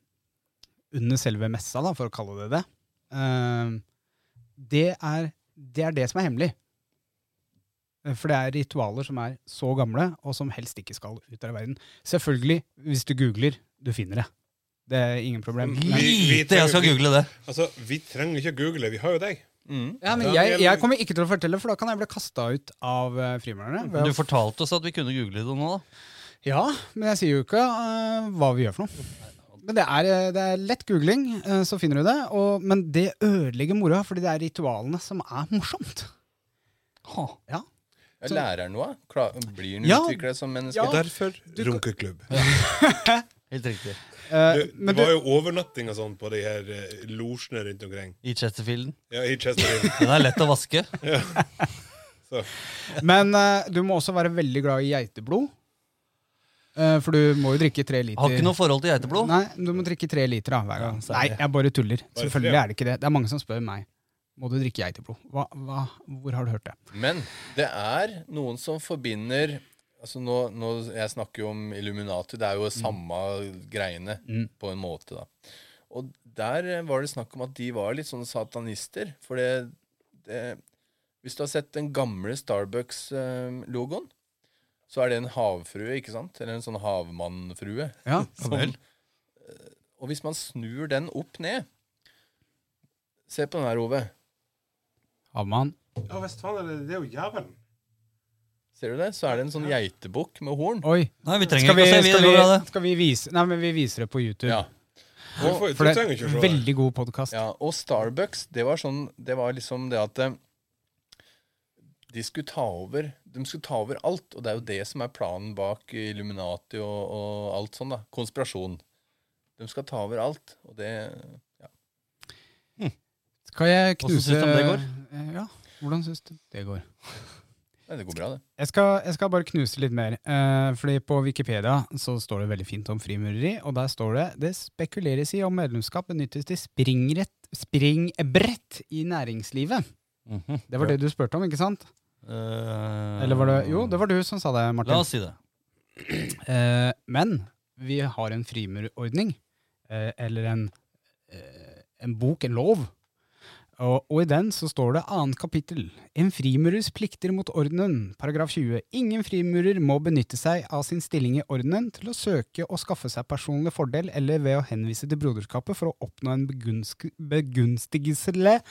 C: Under selve messa, da, for å kalle det det. Eh, det, er, det er det som er hemmelig. Eh, For det er ritualer som er så gamle, og som helst ikke skal ut av verden. Selvfølgelig, hvis du googler, du finner det. Det er ingen problem.
F: Vi-
C: Men-
F: vi
E: Lite! Jeg skal
F: trenger-
E: google det.
F: Altså, vi trenger ikke å google, vi har jo deg.
D: Mm.
C: Ja, men jeg, jeg kommer ikke til å fortelle, for da kan jeg bli kasta ut av uh, frimurerne.
E: Men Du fortalte oss at vi kunne google det nå, da.
C: Ja, men jeg sier jo ikke eh, hva vi gjør for noe. Men det er, eh, det er lett googling, eh, så finner du det. Og, men det ødelegger moroa, fordi det er ritualene som er morsomt. Ja.
D: Jeg lærer noe. Kla blir han
C: Ja.
D: utvikla som menneske?
C: Ja.
F: Og derfor runkeklubb.
E: Helt riktig.
C: Eh,
F: Det, det
C: men du,
F: var jo overnatting og sånn på de her uh, losjene rundt omkring.
E: I Chesterfielden.
F: Ja, i Chesterfield.
E: Den er lett å vaske.
F: Så,
C: men eh, du må også være veldig glad i geiteblod. Eh, for du må jo drikke tre liter.
E: Har ikke noe forhold til geiteblod.
C: Nei, du må drikke tre liter da, hver gang.
E: Ja, så er
C: Nei,
E: det-
C: jeg bare tuller.
F: Bare
C: Selvfølgelig
F: tre.
C: er det ikke det. Det er mange som spør meg. Må du drikke geiteblod? Hva, hva, hvor har du hørt det?
D: Men det er noen som forbinder altså nå, nå, Jeg snakker jo om Illuminati. Det er jo
C: Mm.
D: samme greiene på en måte. da. Og der eh, var det snakk om at de var litt sånn satanister. For det, det Hvis du har sett den gamle Starbucks-logoen, så er det en havfrue, ikke sant? Eller en sånn havmannfrue.
C: Ja,
D: Sånn. Eh, Og hvis man snur den opp ned Se på den her, Ove.
C: Havmann.
G: Ja, visst faen er det, det er jo jævelen.
D: Ser du det? Så er det en sånn geitebukk med horn.
C: Oi.
E: Nei, vi trenger
C: Skal vi,
E: ikke å se. Vi,
C: skal
E: det går bra,
C: vi,
E: det.
C: skal vi vise Nei, men vi viser det på YouTube.
D: Ja.
F: du, får, du
C: For det
F: trenger ikke
C: er
F: å se det.
C: veldig god podkast.
D: Ja, og Starbucks, det var sånn Det var liksom det at eh, de skulle ta over De skulle ta over alt, og det er jo det som er planen bak Illuminati og, og alt sånn, da. Konspirasjon. De skal ta over alt, og det
C: Skal jeg
E: Hvordan
C: knuse
E: syns du om det går?
C: Eh, Ja, hvordan syns du det går?
D: Nei, det går bra, det.
C: Jeg skal, jeg skal bare knuse litt mer. eh, fordi på Wikipedia så står det veldig fint om frimureri, og der står det det spekuleres i om medlemskap benyttes til springrett, springbrett i næringslivet.
E: Mhm.
C: Det var det du spurte om, ikke sant?
E: Eh,
C: Eller var det Jo, det var du som sa det, Martin.
E: La oss si det.
C: Eh, men vi har en frimurordning, eh, eller en, eh, en bok, en lov. Og, og i den så står det annet kapittel. En frimurers plikter mot ordenen, paragraf 20. Ingen frimurer må benytte seg av sin stilling i ordenen til å søke å skaffe seg personlig fordel eller ved å henvise til broderskapet for å oppnå en begunsk begunstigelse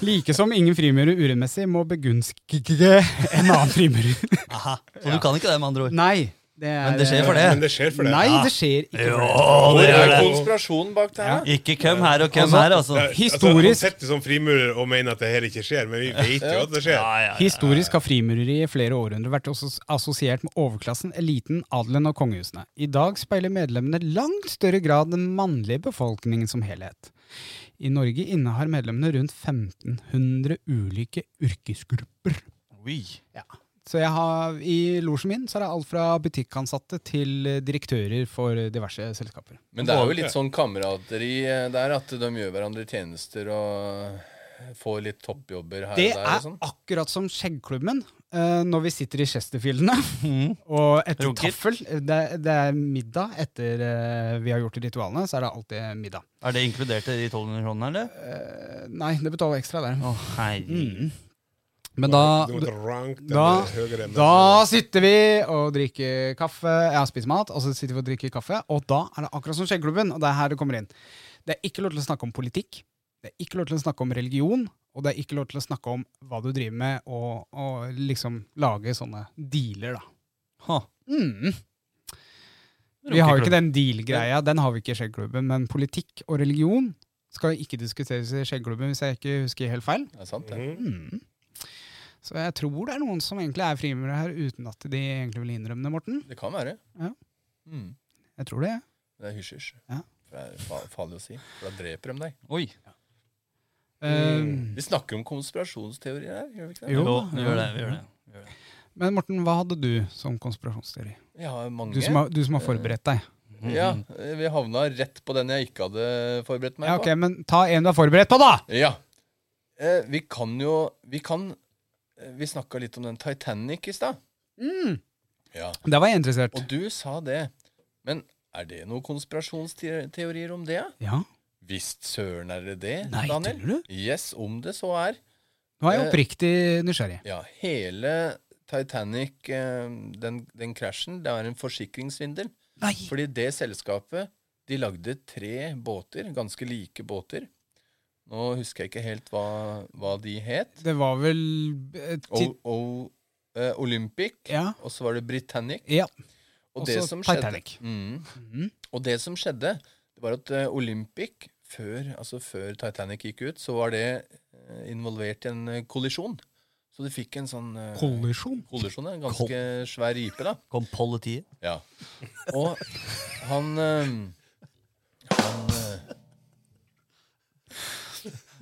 C: Like som ingen frimurer urettmessig må begunstige en annen frimurer.
E: Aha. Så du kan ikke det, med andre ord.
C: Nei. Det er,
E: Men det skjer for det.
F: Men det skjer for det. Ah.
C: Nei, det skjer ikke for det.
E: Jo, det
D: Det
E: gjør
D: er
E: det.
D: konspirasjon bak det her.
E: Ikke køm her og køm her, altså.
F: Det er- Altså, han
C: Historisk-
F: sitter som frimurer og mener at det her ikke skjer, men vi vet jo at det skjer.
E: Ja, ja, ja.
C: Historisk har frimureri i flere århundrer vært også assosiert med overklassen, eliten, adelen og kongehusene. I dag speiler medlemmene langt større grad den mannlige befolkningen som helhet. I Norge innehar medlemmene rundt 1500 ulike yrkesgrupper.
E: Oi.
C: Så jeg har, I losjen min så er det alt fra butikkansatte til eh, direktører for diverse selskaper.
D: Men det er jo litt sånn kamerateri eh, der, at de gjør hverandre tjenester og får litt toppjobber her
C: Det
D: og der.
C: er
D: og sånn.
C: akkurat som Skjeggklubben. eh, når vi sitter i Chesterfieldene og etter
E: Runker.
C: taffel det, det er middag etter eh, vi har gjort ritualene, så er det alltid middag.
E: Er det inkludert i de 1200 kronene, eller?
C: Eh, nei, det betaler ekstra der. Mm.
E: Å, herregud.
C: Men da,
F: Du må dra rankt eller
C: da-
F: høyere, men-
C: da sitter vi og drikker kaffe, ja, spiser mat, og så sitter vi og drikker kaffe, og da er det akkurat som Skjeggklubben, og det er her det kommer inn. Det er ikke lov til å snakke om politikk, det er ikke lov til å snakke om religion, og det er ikke lov til å snakke om hva du driver med, og, og liksom lage sånne dealer, da.
E: Ha.
C: Mm. Vi har jo ikke den deal-greia, den har vi ikke i Skjeggklubben, men politikk og religion skal ikke diskuteres i Skjeggklubben, hvis jeg ikke husker helt feil.
D: Det er sant, det.
C: Mm.
F: Mhm.
C: Så jeg tror det er noen som egentlig er frimurere her, uten at de egentlig vil innrømme det, Morten.
D: Det kan være.
C: Ja.
D: Mm.
C: Jeg tror det.
D: Det er hysj-hysj.
C: Ja.
D: For Det er fa- farlig å si. For da dreper de deg.
E: Oi.
C: Eh,
D: Vi snakker om konspirasjonsteorier her, gjør vi ikke det?
C: Jo,
E: Jo, vi gjør det. Vi gjør det.
C: Men Morten, hva hadde du som konspirasjonsteori?
D: Vi har mange. Mhm.
C: Du som har, du som har forberedt
D: Eh,
C: deg.
D: Ja, Vi havna rett på den jeg ikke hadde forberedt meg
C: Ja, ok, Men ta en du er forberedt på, da!
D: på. Ja. Eh, vi kan jo Vi kan eh, Vi snakka litt om den Titanic i stad.
C: Mm.
D: Ja.
C: Der var jeg interessert.
D: Og du sa det. Men er det noen konspirasjonsteorier om det? ja?
C: Ja,
D: Visst søren er det det,
C: Nei,
D: Daniel.
C: tuller du?
D: Yes, om det så er.
C: Nå er jeg
D: Eh,
C: oppriktig nysgjerrig.
D: Ja, hele Titanic, eh, den, den krasjen, det er en forsikringssvindel.
C: Nei!
D: Fordi det selskapet, de lagde tre båter, ganske like båter. Nå husker jeg ikke helt hva, hva de het.
C: Det var vel eh,
D: O,
C: ti-
D: o, eh, Olympic,
C: Ja.
D: og så var det Britannic.
C: ja.
D: Og
C: Og
D: det
C: så
D: som
C: Titanic. Mhm.
D: Skjedde, mm, Og det som skjedde, det var at eh, Olympic, før, altså før Titanic gikk ut, så var det eh, involvert i en eh, kollisjon. Så du fikk en sånn eh,
C: Kollisjon.
D: kollisjon, ja, en ganske svær ripe, da.
E: Kom politiet.
D: Ja. Og han eh, Han eh,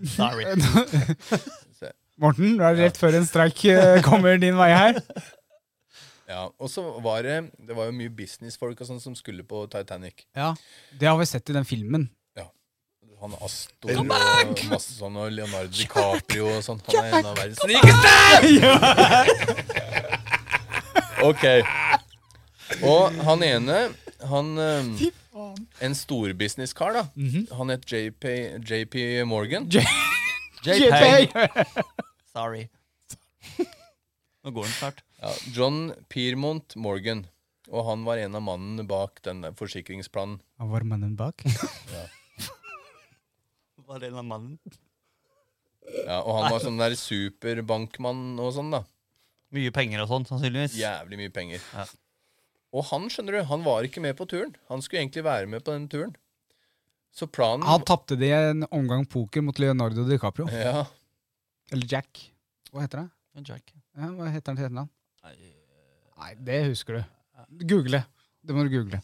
E: Sorry.
C: Morten, du er rett før en streik eh, kommer din vei her.
D: Ja. Og så var det Det var jo mye businessfolk og sånn som skulle på Titanic.
C: Ja, Det har vi sett i den filmen.
D: Han Astor og masse sånn, og Leonardo DiCaprio og sånn. Han er en av verdens rikeste! Ok. Og han ene, han eh, En storbusinesskar, da. Han het JP, JP Morgan.
E: JPEG. Sorry. Nå går den snart.
D: Ja, John Piermont Morgan. Og han var en av mannen bak den der forsikringsplanen.
C: Han var mannen bak.
E: Var det en av mannen?
D: Ja, og han var sånn der superbankmann og sånn, da.
E: Mye penger og sånn, sannsynligvis.
D: Jævlig mye penger.
E: Ja.
D: Og han skjønner du, han var ikke med på turen. Han skulle egentlig være med på den turen. Så
E: Mm.
D: planen
C: Han tapte det i en omgang poker mot Leonardo DiCaprio.
D: Ja,
C: Eller Jack. Hva heter det?
E: Jack.
C: Ja, hva heter han til etternavn?
E: Nei, eh,
C: Nei, det husker du. Google. Det må du google.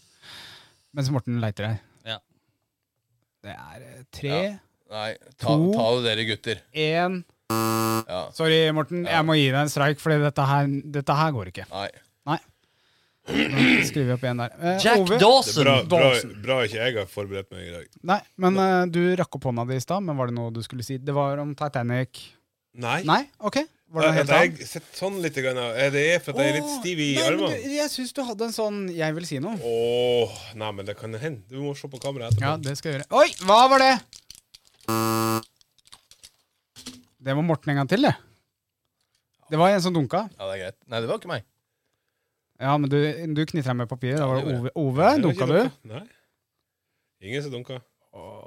C: Mens Morten leiter her.
E: Ja.
C: Det er eh, tre,
D: Nei, ta,
C: To.
D: ta det dere gutter.
C: én
D: Ja,
C: Sorry, Morten. Jeg må gi deg en streik, for dette, her- dette her går ikke.
D: nei.
C: Nå skriver vi opp igjen der. Eh,
E: Jack
C: Ove?
F: Det er bra,
E: Dawson!
F: bra,
C: Dawson.
F: bra ikke jeg har forberedt meg i dag.
C: Nei, men eh, du rakk opp hånda di i stad, men var det noe du skulle si? Det var om Titanic.
F: Nei.
C: Nei? OK. Var det noe
F: At
C: helt annet?
F: jeg sitter sånn litt grann, er det er for at jeg er litt stiv i
C: Åh, nei, men
F: armene.
C: du- Jeg syns du hadde en sånn 'jeg vil si noe'.
F: Åh, nei, men det kan hende. Du må se på kameraet etterpå.
C: Ja, det skal jeg gjøre. Oi, hva var det? Det var Morten en gang til, det. Det var en som dunka.
D: Ja, det er greit. Nei, det var ikke meg.
C: Ja, men du, du knitra med papiret. Da var det
D: Ja,
C: Ove.
F: Det
C: Ove,
F: var ikke
C: dunka du?
F: dunka. Nei. Ingen som dunka.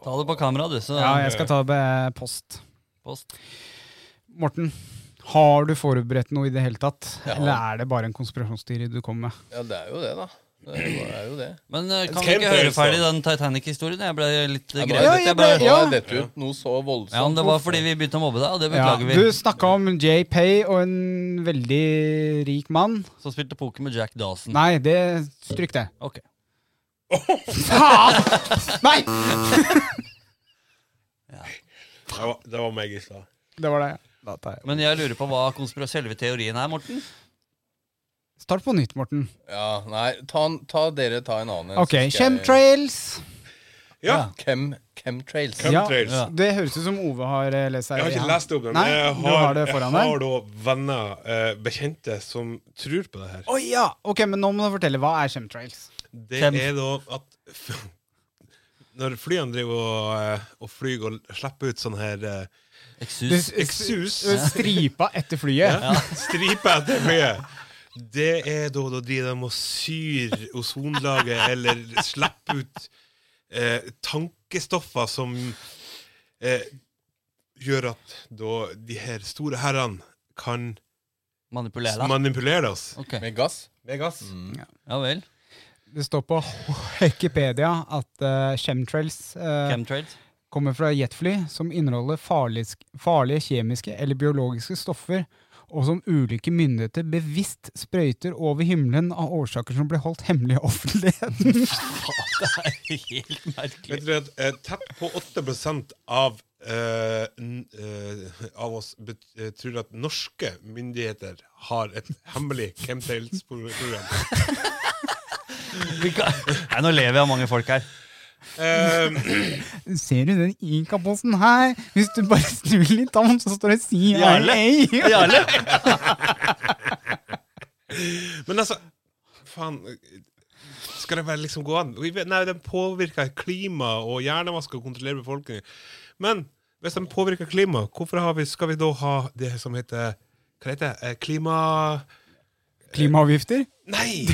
E: Ta det på kamera, du, så
C: Ja, jeg skal ta det på post.
E: post.
C: Morten, har du forberedt noe i det hele tatt? Eller er det bare en konspirasjonsteori du kommer med?
D: Ja, det er jo det, da. Det er jo- er jo det.
E: Men eh, kan vi
F: Kjempe-
E: ikke høre ferdig den Titanic-historien? Jeg ble litt eh,
D: Ja,
E: grepet.
D: ja,
E: jeg
C: jeg
E: ble...
C: ble-
D: Nå
C: Ja.
D: er dette ut noe så voldsomt.
E: Ja, men Det var fordi vi begynte å mobbe deg, og det
C: Ja,
E: beklager
C: du
E: vi.
C: snakka om Jay Pay og en veldig rik mann.
E: Som spilte poker med Jack Dawson.
C: Nei, det stryk det.
E: Ok.
C: Faen! Nei!
F: Det var, det var meg i stad.
C: Det var det. Da tar jeg.
E: Men jeg lurer på hva konspira- selve teorien er, Morten.
C: Start på nytt, Morten.
D: Ja, nei, ta, en- ta dere ta en annen.
C: Ok,
D: så skal jeg-
C: Chemtrails.
F: Ja.
D: Chem, chemtrails.
C: Ja.
F: Chemtrails.
C: Det høres ut som Ove har eh, lest seg
F: Jeg har ikke
C: igjen.
F: lest opp den.
C: Nei,
F: men jeg
C: du
F: har,
C: har det foran
F: jeg
C: deg.
F: har da venner, eh, bekjente, som tror på det her.
C: Å ja! Ok, men nå må du fortelle. Hva er chemtrails?
F: Det
E: Hvem?
F: er da at f- Når flyene driver og, eh, og flyr og slipper ut sånn her eh,
E: Eksus.
F: eksus
C: Stripa etter flyet.
F: ja. Stripe etter flyet. Det er da da driver de og syr ozonlaget eller slipper ut eh, tankestoffer som eh, gjør at da de her store herrene kan
E: Manipulera.
F: manipulere oss.
E: Ok,
D: Med gass? Mm.
F: Med gass.
E: Ja vel.
C: Det står på Wikipedia at eh, chemtrails eh,
E: Chemtrails.
C: kommer fra jetfly som inneholder farlige, farlige kjemiske eller biologiske stoffer, og som ulike myndigheter bevisst sprøyter over himmelen av årsaker som blir holdt hemmelig i offentligheten.
E: Helt merkelig.
F: Vet dere at eh, tett på 8 av, eh, n- eh, av oss bet eh, tror at norske myndigheter har et hemmelig chemtrails-program.
E: Vi kan- Nei, nå lever jeg av mange folk her.
F: Eh,
C: Ser du den Inka-posten her? Hvis du bare snur litt om, så står det
E: Jarle.
C: CIA!
E: Jarle!
F: men altså Faen. Skal det bare liksom gå an? Vi vet- Nei, den påvirker klima og hjernevask og kontrollerer befolkningen. Men hvis den påvirker klima, hvorfor har vi, skal vi da ha det som heter Hva heter det? Eh, Klima...
C: Klimaavgifter?
F: Nei!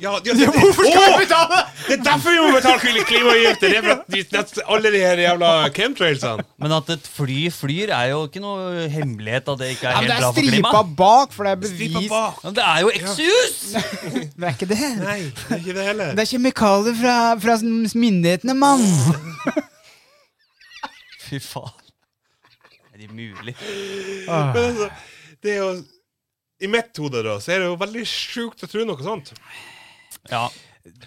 F: Ja, ja, det, hvorfor skal vi betale?! Det er derfor vi må betale kli- klimaavgifter! Det er for at de, nett- alle de her jævla chemtrailsene.
E: Men at et fly flyr, er jo ikke noe hemmelighet at det ikke er
C: Ja, men det
E: helt
C: er
E: bra for
C: stripa
E: klimaet.
C: bak, for det er
F: Stripa
C: bevis.
F: bak.
E: Ja, men det er jo eksus!
C: Det er ikke det.
F: Nei, det er ikke det heller.
C: Det er kjemikalier fra, fra myndighetene, mann!
E: Fy faen. Er det mulig?
F: Men altså, det er jo I mitt hode da, så er det jo veldig sjukt å tro noe sånt.
E: Ja.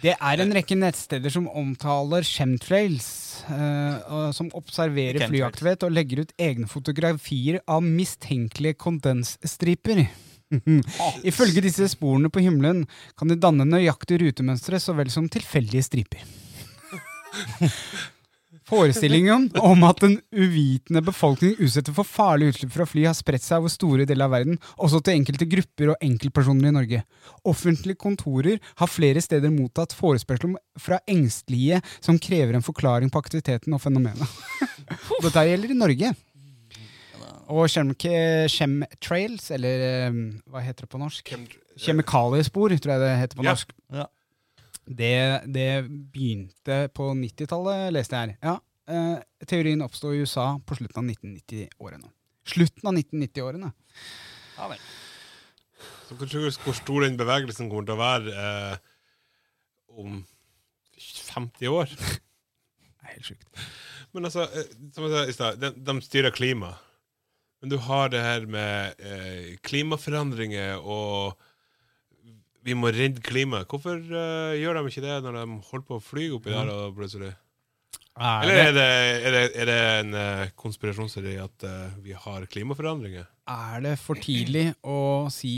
C: Det er en rekke nettsteder som omtaler chemtrails, eh, og som observerer
E: Chemtrails.
C: flyaktivitet og legger ut egne fotografier av mistenkelige kondensstriper. Ifølge disse sporene på himmelen kan de danne nøyaktige rutemønstre så vel som tilfeldige striper. Forestillingen om at den uvitende befolkningen utsetter for farlige utslipp fra fly, har spredt seg over store deler av verden, også til enkelte grupper og enkeltpersoner i Norge. Offentlige kontorer har flere steder mottatt forespørsel om- fra engstelige som krever en forklaring på aktiviteten og fenomenet. Dette gjelder i Norge. Og chem- ke- chemtrails, eller eh, hva heter det på norsk? Kjemikaliespor, tror jeg det heter på
F: Ja.
C: norsk.
E: Ja.
C: Det, det begynte på 90-tallet, leste jeg her. Ja, eh, teorien oppsto i USA på slutten av 1990-årene. Slutten av 1990-årene.
E: Ja, vel.
F: Så kan du tro hvor stor den bevegelsen kommer til å være eh, om 50 år.
C: Det er helt sjukt.
F: Men altså, eh, som jeg sa i stad, de, de styrer klima. Men du har det her med eh, klimaforandringer og vi må redde klimaet. Hvorfor eh, gjør de ikke det når de holder på å fly oppi der? Og plutselig? Eller er det, er det, er det en eh, konspirasjonsteori at eh, vi har klimaforandringer?
C: Er det for tidlig å si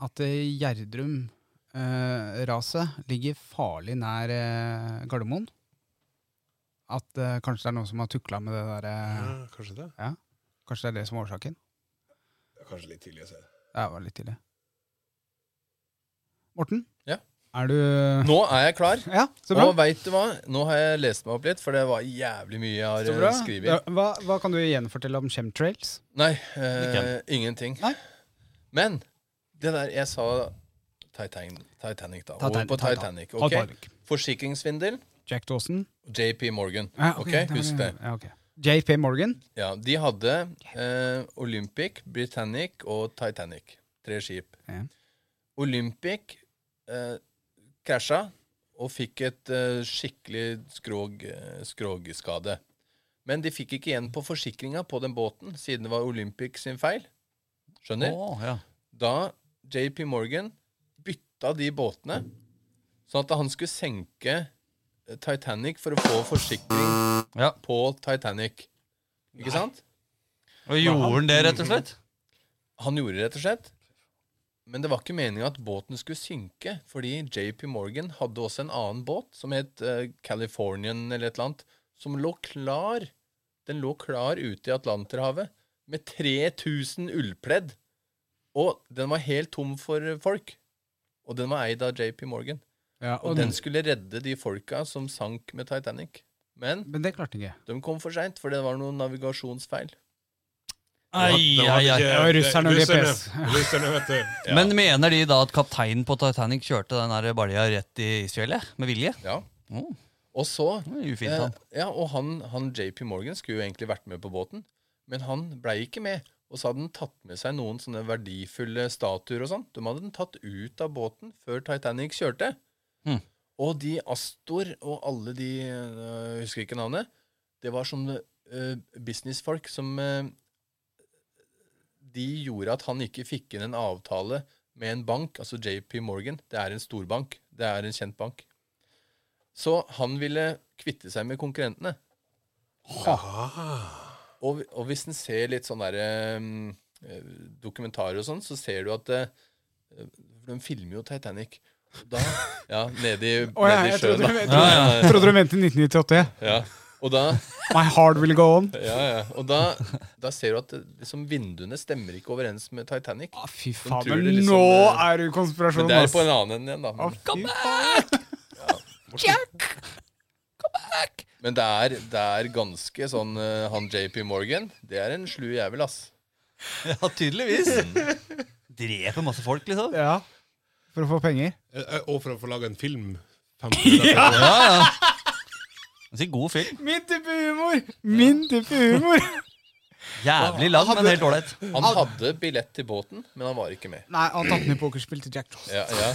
C: at eh, Gjerdrum-raset ligger farlig nær eh, Gardermoen? At eh, kanskje det er noen som har tukla med det der eh,
F: Ja, kanskje det?
C: Kanskje det er det som er årsaken?
F: Kanskje litt tidlig å si det.
C: Det var litt tidlig. Morten?
D: Ja.
C: Er du
D: Nå er jeg klar.
C: Ja, så bra.
D: Og veit du hva? Nå har jeg lest meg opp litt, for det var jævlig mye jeg
C: Så
D: har
C: bra.
D: eh, skrevet.
C: Ja, hva, hva kan du gjenfortelle om chemtrails?
D: Nei, eh, ingenting.
C: Nei.
D: Men det der jeg sa Titan, Titanic, da. Over
C: Titan-
D: på
C: Titan.
D: Titanic.
C: Titanic.
D: ok? Forsikringssvindel,
C: Jack Dawson?
D: JP Morgan.
C: Ja,
D: Ah, ok,
C: det var-
D: Husk det.
C: Ja, ok. JP Morgan?
D: Ja, De hadde eh, Olympic, Britannic og Titanic. Tre skip.
C: Ja.
D: Olympic eh, krasja og fikk et eh, skikkelig skrog, eh, skrogskade. Men de fikk ikke igjen på forsikringa på den båten, siden det var Olympic sin feil. Skjønner?
E: Å, ja.
D: da JP Morgan bytta de båtene, sånn at han skulle senke eh, Titanic for å få forsikring
E: Ja.
D: på Titanic. Ikke sant?
E: Og gjorde han det, rett og slett?
D: Han gjorde det, rett og slett. Men det var ikke meninga at båten skulle synke, fordi JP Morgan hadde også en annen båt som het eh, Californian eller et eller annet, som lå klar. Den lå klar ute i Atlanterhavet med 3000 ullpledd. Og den var helt tom for eh, folk. Og den var eid av JP Morgan.
C: Ja,
D: Og den skulle redde de folka som sank med Titanic. Men
C: Men det klarte ikke.
D: de kom for seint, for det var noen navigasjonsfeil.
E: Ai,
F: Det
E: ai,
F: var- det var
E: ai.
F: ikke-
C: Det var russerne og
F: det-
C: GPS.
F: russerne- Russerne, vet du.
E: Men mener de da at kapteinen på Titanic kjørte den der balja rett i isfjellet? Med vilje?
D: Ja.
E: Oh,
D: Og så
E: det var ufint, han.
D: Eh, ja, og han, han JP Morgan skulle jo egentlig vært med på båten, men han blei ikke med. Og så hadde han tatt med seg noen sånne verdifulle statuer og sånn. De hadde den tatt ut av båten før Titanic kjørte.
E: Mhm.
D: Og de Astor og alle de øh, Husker ikke navnet. Det var sånne øh, businessfolk som øh, De gjorde at han ikke fikk inn en avtale med en bank, altså JP Morgan. Det er en storbank. Det er en kjent bank. Så han ville kvitte seg med konkurrentene. Og, og hvis en ser litt sånn der, um, eh, dokumentarer og sånn, så ser du at eh, de filmer jo Titanic. Og Da, ja, nede i,
C: Å ja,
D: nede i
C: jeg
D: sjøen.
C: trodde,
D: da.
C: jeg
D: Eh.
C: trodde, jeg trodde du mente 1998.
D: Ja, og da,
C: My heart will go on.
D: ja, ja. Og da, da ser du at eh, liksom, vinduene stemmer ikke overens med Titanic.
C: Å, Ah, fy
D: De
C: faen,
D: tror
C: men
D: det liksom,
C: nå
D: eh,
C: er du konspirasjon,
D: Men det er på en annen ende igjen, da.
C: Å,
D: Men,
C: fy
D: men det, er, det er ganske sånn eh, Han JP Morgan, det er en slu jævel, ass.
E: Ja, tydeligvis.
F: Mm.
E: Dreper masse folk, liksom.
C: Ja. For å få penger.
F: Eh, Og for å få laga en film. 50 ja!
E: Ja, ja. Altså, god film.
C: Min type humor! Min type humor!
E: Jævlig lang, men helt ålreit.
D: Han hadde billett til båten, men han var ikke med.
C: Nei, han tatt ned pokerspill til Jack Johnson.
D: Ja, ja.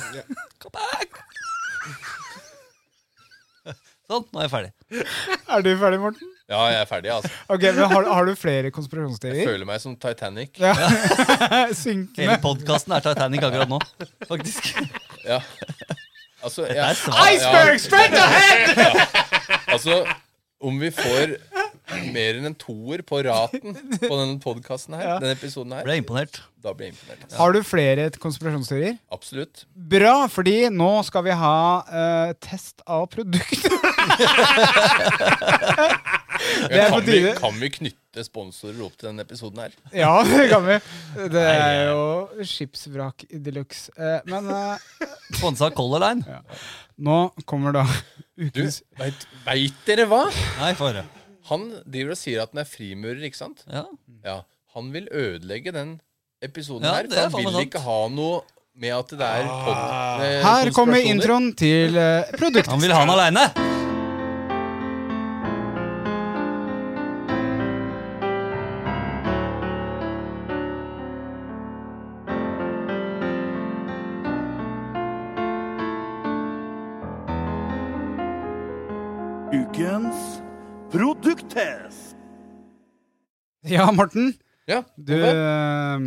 E: Sånn, nå er jeg ferdig.
C: Er du ferdig, Morten?
D: Ja, jeg er ferdig, altså.
C: Ok, men Har, har du flere
D: Jeg
C: konspirasjonsteorier?
D: føler meg som Titanic.
C: Ja.
E: Hele
C: Synkende.
E: podkasten er Titanic akkurat nå, faktisk.
D: Ja. Altså, jeg,
C: Iceberg straight ahead!
D: Altså, om vi får mer enn en toer på raten på denne podkasten her, denne episoden her,
E: Ble imponert.
D: da blir jeg imponert. altså.
C: Har du flere konspirasjonsteorier?
D: Absolutt.
C: Bra, fordi nå skal vi ha eh, test av produktet. Det er
D: kan,
C: på
D: vi,
C: tide.
D: kan vi knytte sponsorer opp til denne episoden her?
C: Ja, det kan vi. Det er jo skipsvrak de luxe. Eh, men eh,
E: Sponsa av Color Line.
C: nå kommer da
D: Du,
C: ukens
D: veit, veit dere hva?
E: Nei, for det.
D: Han driver og sier at han er frimurer, ikke sant?
E: Ja.
D: Ja. Han vil ødelegge den episoden
E: Ja,
D: her,
E: det er
D: for han
E: faen meg
D: vil
E: sant.
D: ikke ha noe med at det er pod... eh,
C: Her kommer
D: konspirasjoner.
C: introen til eh, produktet.
E: Han vil ha den aleine!
A: Ukens produkttest.
C: Ja, Morten.
D: Ja,
C: Du,
D: Ove?
C: eh,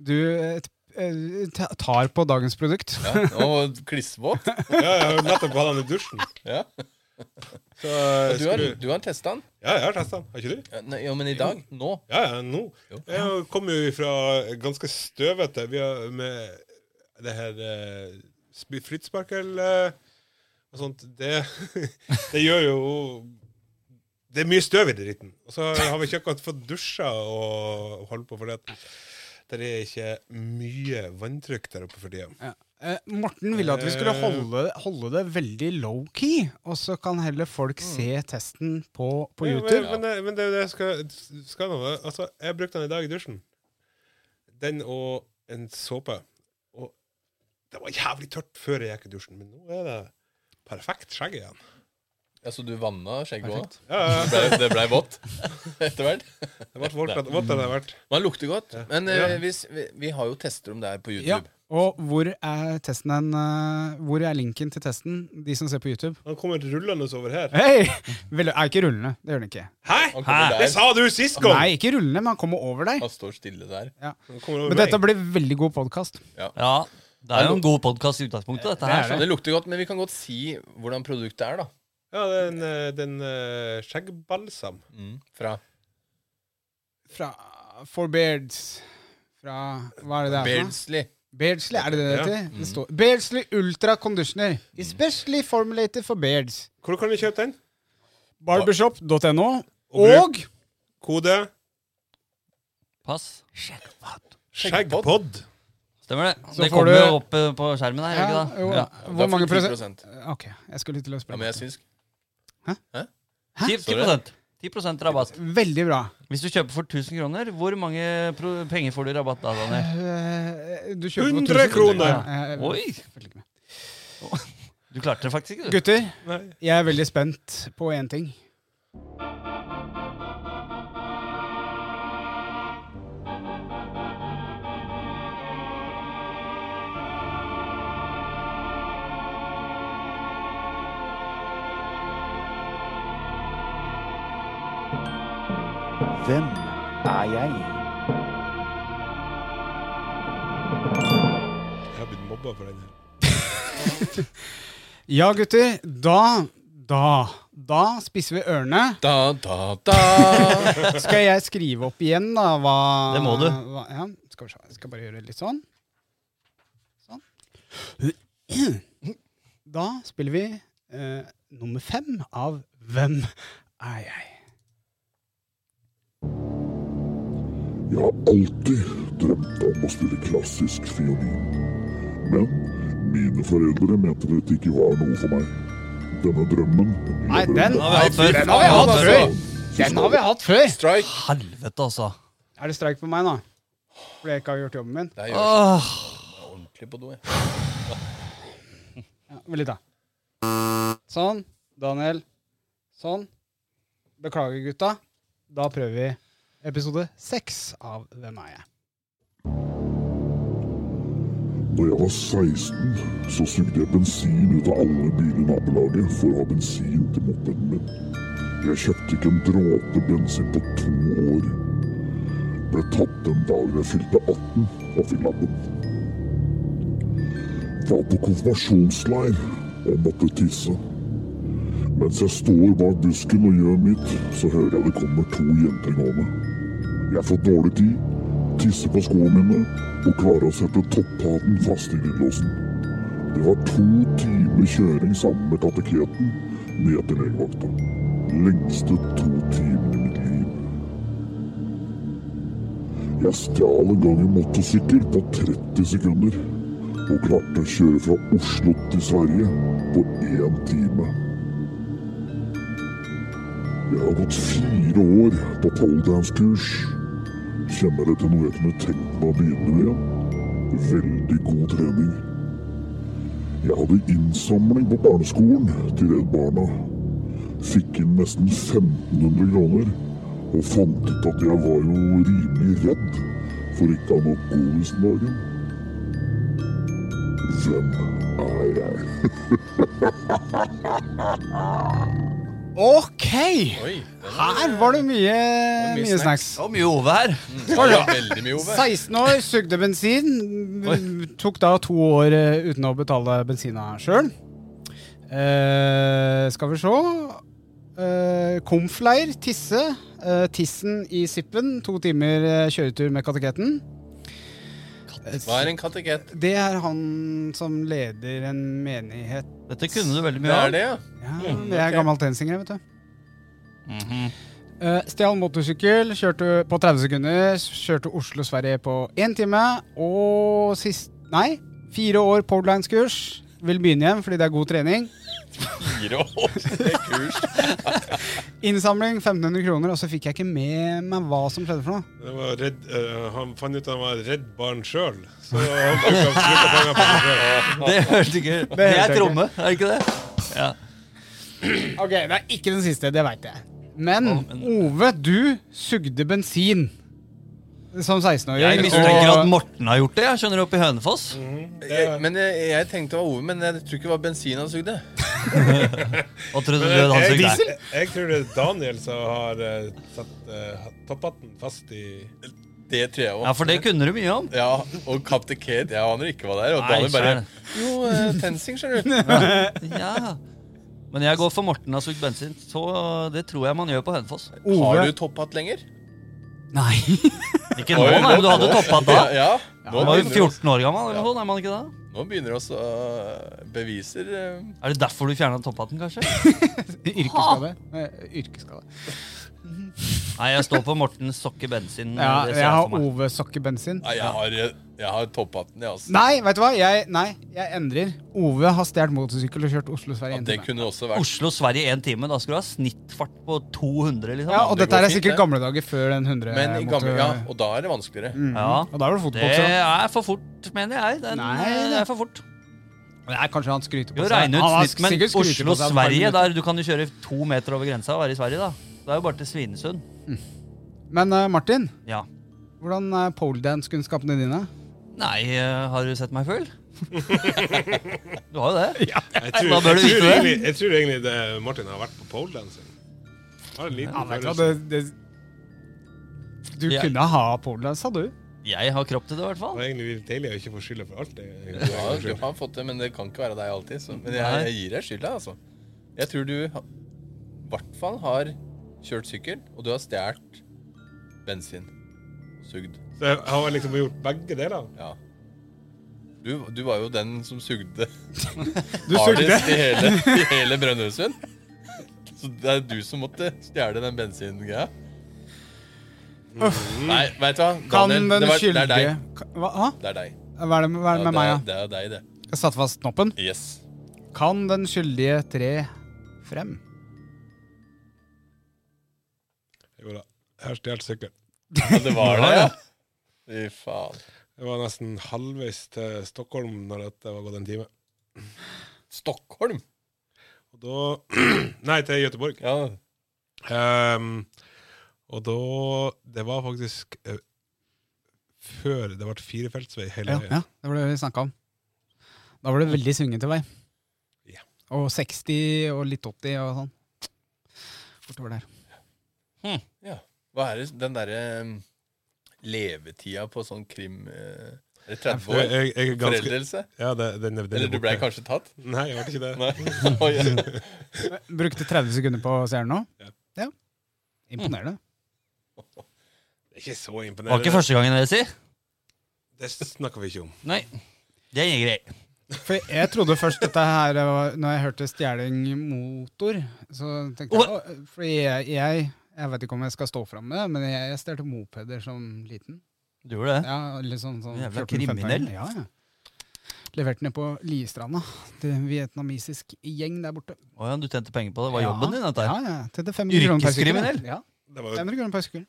C: du eh, t- eh, ta- tar på dagens produkt.
D: ja, og klissvåt.
F: Ja, jeg har nettopp hatt han i dusjen.
D: Ja.
F: Så jeg
D: Du har,
F: skulle-
D: du har testa den?
F: Ja, jeg har testa den. Har ikke du?
D: Ja, nei, ja, men i dag? Nå?
F: Ja, ja, nå.
D: Jo.
F: Jeg kommer jo fra ganske støvete Vi har med det her eh, sp- flyttsparkel eh, og sånt. Det, det gjør jo Det er mye støv i dritten. Og så har vi ikke akkurat fått dusja og holdt på, for det at det er ikke mye vanntrykk der oppe for tida.
C: Eh, Morten ville at vi skulle
F: Eh.
C: holde, holde det veldig low-key, og så kan heller folk se testen på, på
F: Ja,
C: YouTube.
F: Men, men, det- men det er jo det jeg skal, skal nå. Altså, jeg brukte den i dag i dusjen. Den og en såpe. Og det var jævlig tørt før jeg gikk i dusjen, men nå er det perfekt skjegg igjen.
D: Ja, så du vanna skjegget òg?
F: Ja, ja,
D: Det ble- det blei vått etter hvert.
F: det ble vått vått det har vært.
D: Men det lukter godt. Men eh,
F: Ja.
D: hvis, vi, vi har jo tester om det her på YouTube.
C: Ja. Og hvor er, testen en, eh, hvor er linken til testen, de som ser på YouTube?
F: Han kommer rullende over her.
C: Hei! Vel, er ikke rullende. Det gjør den ikke.
F: Hæ?!
D: Han kommer
F: Det
D: der.
F: sa du sist gang!
C: Nei, ikke rullende, men han kommer over deg.
D: Han står stille der.
F: Han kommer over
C: Men dette
F: meg.
C: blir veldig god podkast.
E: Ja, det er jo en god podkast i utgangspunktet, dette her.
D: Så det lukter godt, men vi kan godt si hvordan produktet er, da.
F: Ja, det er en, eh, det er en eh, skjeggbalsam.
D: Mm, Fra
C: Fra For Beards Fra Hva er det det er? for noe?
D: Beardsley.
C: Beardsley, er det det det
F: Ja.
C: heter? Det står Beardsley Ultra Conditioner. Especially formulated for beards.
F: Hvor kan du kjøpe den?
C: Barbershop.no.
F: Og
C: Og
F: Kode
E: Pass.
F: skjeggpod.
E: Stemmer det.
C: Så
E: det
C: får
E: kommer
C: du-
E: jo opp eh, på skjermen her, gjør
C: ja,
E: ikke det?
C: jo,
E: Ja.
D: Da
C: Hvor
D: får
C: mange
D: du 10
C: prosent? Ok, jeg skulle til å
D: Ja,
C: spørre.
D: men jeg syns
E: Ti- 10, 10 rabatt.
C: Veldig bra.
E: Hvis du kjøper for 1000 kroner, hvor mange pro penger får du i rabatt da, Daniel?
C: Eh, Du kjøper for
F: 100
C: 1000
F: kroner.
C: Ja, eh,
E: Oi!
C: følg med.
E: Du klarte det faktisk ikke, du.
C: Gutter,
F: Nei.
C: jeg er veldig spent på én ting.
A: Hvem er jeg?
F: Jeg har blitt mobba for den her.
C: Ja, gutter. Da, da, da spisser vi ørene.
D: Da, da, da.
C: Skal jeg skrive opp igjen, da? Hva,
E: Det må du.
C: Hva, ja, skal vi se. Jeg skal bare gjøre litt sånn. Sånn. Da spiller vi eh, nummer fem av Hvem er jeg?
H: Jeg har alltid drømt om å spille klassisk fiolin. Men mine foreldre mente dette ikke var noe for meg. Denne drømmen
C: Nei, den
E: Den har vi hatt før.
C: Den har vi hatt før! Den har vi hatt før!
D: Strike.
E: Helvete, altså.
C: Er det streik på meg nå? Fordi jeg ikke har gjort jobben min?
D: Det gjør
E: Åh,
D: jeg ordentlig på do, jeg.
C: Ja, Vent litt, da. Sånn. Daniel. Sånn. Beklager, gutta. Da prøver vi episode seks av Hvem er jeg?
H: Da jeg var 16, så sugde jeg bensin ut av alle biler i nabolaget for å ha bensin til mopeden min. Jeg kjøpte ikke en dråpe bensin på to år. Ble tatt den dagen jeg fylte 18 og fikk lappen. Var på konfirmasjonsleir og måtte tisse. Mens jeg står bak busken og gjør mitt, så hører jeg det kommer to jenter gående. Jeg får dårlig tid, tisser på skoene mine og klarer å sette topphaten fast i glidelåsen. Det var to timer kjøring sammen med kateketen ned til legevakta. Lengste to timer i mitt liv. Jeg stjal en gang en motorsykkel på 30 sekunder og klarte å kjøre fra Oslo til Sverige på én time. Jeg har gått fire år på poledance-kurs. Kjenner det til noe jeg kunne tenkt meg å begynne med. Veldig god trening. Jeg hadde innsamling på barneskolen til Redd Barna. Fikk inn nesten 1500 kroner, og fant ut at jeg var jo rimelig redd for ikke å ha nok godis den dagen. Hvem er jeg?
C: Ok!
D: Oi.
C: Her var det mye,
D: mye
C: mye
D: snacks.
C: snacks.
E: Det var mye Ove her.
D: Det var veldig mye, Ove.
C: 16 år, sugde bensin. Tok da to år eh, uten å betale bensina sjøl. Eh, skal vi se eh, Komfleir, tisse. Eh, tissen i sippen. To timer eh, kjøretur med kateketen. Eh,
D: Hva er en kateket?
C: Det er han som leder en menighet.
E: Dette kunne du veldig
D: Det
E: mye
D: er
E: av.
D: det, ja.
C: Ja, det er
D: ok.
C: gammel tensinger, vet du. Eh, Stjal motorsykkel, kjørte på 30 sekunder, kjørte Oslo-Sverige på én time. Og sist Nei, fire år powerlines-kurs. Vil begynne igjen fordi det er god trening.
D: Fire år. Det er kurs.
C: Innsamling 1500 kroner, og så fikk jeg ikke med meg hva som skjedde for noe.
F: Det var redd, eh, han fant ut han var redd barn sjøl, så han bruker bruker penger på seg sjøl.
E: Det hørte ikke Det
C: hørte jeg
E: er tromme, er det ikke det? Ja.
C: Ok, Det er ikke den siste, det veit jeg. Men
E: Å, men-
C: Ove, du sugde bensin som 16-åring.
E: Jeg mistenker at Morten har gjort det, jeg skjønner du, oppe i Hønefoss.
D: Jeg, men jeg, jeg tenkte det var Ove, men jeg tror ikke det var bensin han sugde.
E: Hva trodde du han
F: jeg,
E: sugde?
F: jeg, jeg tror det er Daniel som har eh, satt eh, topphatten fast i
D: Det tror jeg
E: Ja,
D: òg.
E: for det kunne du mye om.
D: Ja, og Captain Kate, jeg aner ikke hva det er. Og
E: Nei,
D: Daniel bare
E: skjønner.
D: Jo, eh, tensing, skjønner du.
E: Ja. Men jeg går for Morten har sugd bensin. Så det tror jeg man gjør på Hønefoss.
D: Har du
C: Ove
D: topphatt lenger?
C: Nei.
E: Ikke nå, nei, men du hadde topphatt da.
D: Ja, ja. Nå,
E: Du var jo
D: begynner
E: 14 år gammel, eller noe sånt, er man ikke det?
D: oss- nå begynner oss å beviser eh,
E: Er det derfor du fjerna topphatten, kanskje?
C: Yrkesskade. Eh, Yrkesskade.
E: Nei, jeg står på Morten sokke bensin.
C: Ja,
E: det ser
C: jeg
E: jeg for
C: har
E: meg.
C: Ove sokkebensin.
D: Nei, jeg har, jeg har topphatten, jeg, altså.
C: Nei, vet du hva? Jeg, nei, jeg endrer. Ove har stjålet motorsykkel og kjørt Oslo-Sverige.
D: Ja,
C: inn
D: det
C: til meg.
D: kunne det også vært.
E: Oslo-Sverige én time. Da skal du ha snittfart på 200, liksom.
C: Ja,
E: Ja,
C: og
D: det
C: dette
D: går
C: er
D: fint,
C: sikkert
D: det.
C: gamle dager før den 100
D: Men i gamle,
C: Eh, måtte- Mm.
D: ja, og da er det vanskeligere.
C: Og da var det
E: Det
C: fotboks. Ja.
E: er for fort, mener jeg. Den,
C: Nei,
E: det
C: det-
E: er for fort.
C: Nei, kanskje han skryter på
E: Jo,
C: seg.
E: regne
C: Han har
E: ut snitt, men
C: sikkert skryter på seg et par
E: Oslo-Sverige,
C: minutter.
E: der du kan jo kjøre to meter over grensa og være i Sverige, da. Det er jo bare til Svinesund.
C: Men eh, Martin,
E: Ja.
C: hvordan er poledance-kunnskapene dine?
E: Nei, eh, har du sett meg full? du har jo det.
F: Jeg tror,
E: Da bør du
F: jeg
E: vite
F: tror,
E: det.
F: egentlig, jeg tror egentlig det Martin har vært på poledancing. Har en liten følelse.
C: Du
E: Ja.
C: kunne ha poledance, sa du.
E: Jeg har kropp til det, i hvert
F: Det
E: fall.
F: var egentlig litt deilig å ikke få skylda for alt. det.
D: Du har, du har fått det, men det kan ikke være deg alltid. Så. Men jeg,
E: Nei.
D: jeg gir deg skylda, altså. Jeg tror du ha- i hvert fall har kjørt sykkel, og du har stjålet bensin. Sugd.
F: Så jeg har liksom gjort begge deler.
D: Ja. Du, du var jo den som sugde
C: Du sugde.
D: hardest i hele, i hele Brønnøysund. Så det er du som måtte stjele den bensingreia. Nei, veit du hva?
C: Kan
D: Daniel,
C: den
D: det, var, det
C: skyldige
D: er deg.
C: Ka- Hva? Hva?
D: Det er deg.
C: Hva er det med, hva er det med
D: Ja, det,
C: meg,
D: er,
C: da?
D: det er deg, det.
C: Jeg satte fast knoppen.
D: Yes.
C: Kan den skyldige tre frem?
F: Jo da. Jeg har stjålet sykkel.
D: Ja, det var det, ja. Fy faen.
F: Jeg var nesten halvveis til Stockholm når dette var gått en time.
D: Stockholm.
F: Og da Nei, til Gøteborg.
D: Ja.
F: Ehm, og da Det var faktisk eh, før det ble firefeltsvei hele
C: Ja,
F: veien.
C: ja, det var det vi snakka om. Da var det veldig svingete vei.
F: Ja.
C: Og 60 og litt 80 og sånn. bortover der.
D: Ja. Hva er det, den derre um, levetida på sånn krim... eh, er det 30
F: Jeg,
D: år?
F: jeg, jeg er ganske
D: Foreldelse?
F: ja, det, den, den,
D: Eller du blei kanskje tatt?
F: Nei, jeg ble ikke det.
D: Nei. Oi, ja.
C: Brukte 30 sekunder på seeren nå?
F: Ja.
C: Ja. Imponerende.
F: Det er ikke så
E: Det var
F: imponerende.
E: ikke første gangen dere sier?
F: Det snakker vi ikke om.
E: Nei. Det er greit.
C: For jeg trodde først dette her var Når jeg hørte stjeling motor, så tenkte jeg
E: Hva?
C: «Å, Fordi jeg, jeg Jeg vet ikke om jeg skal stå fram med det, men jeg, jeg stjelte mopeder som liten.
E: Du gjorde det.
C: Ja, litt sånn, sånn 14-15
E: Jævla
C: -åring.
E: kriminell.
C: Ja, ja. Leverte ned på Listranda til en vietnamesisk gjeng der borte.
E: Å ja, du tjente penger på det. Var jobben din, dette
C: Ja,
E: her?
C: ja. Til det 500 kroner per sykkel.
E: Yrkeskriminell?
C: Ja,
F: Det var,
C: 500 kroner per sykkel.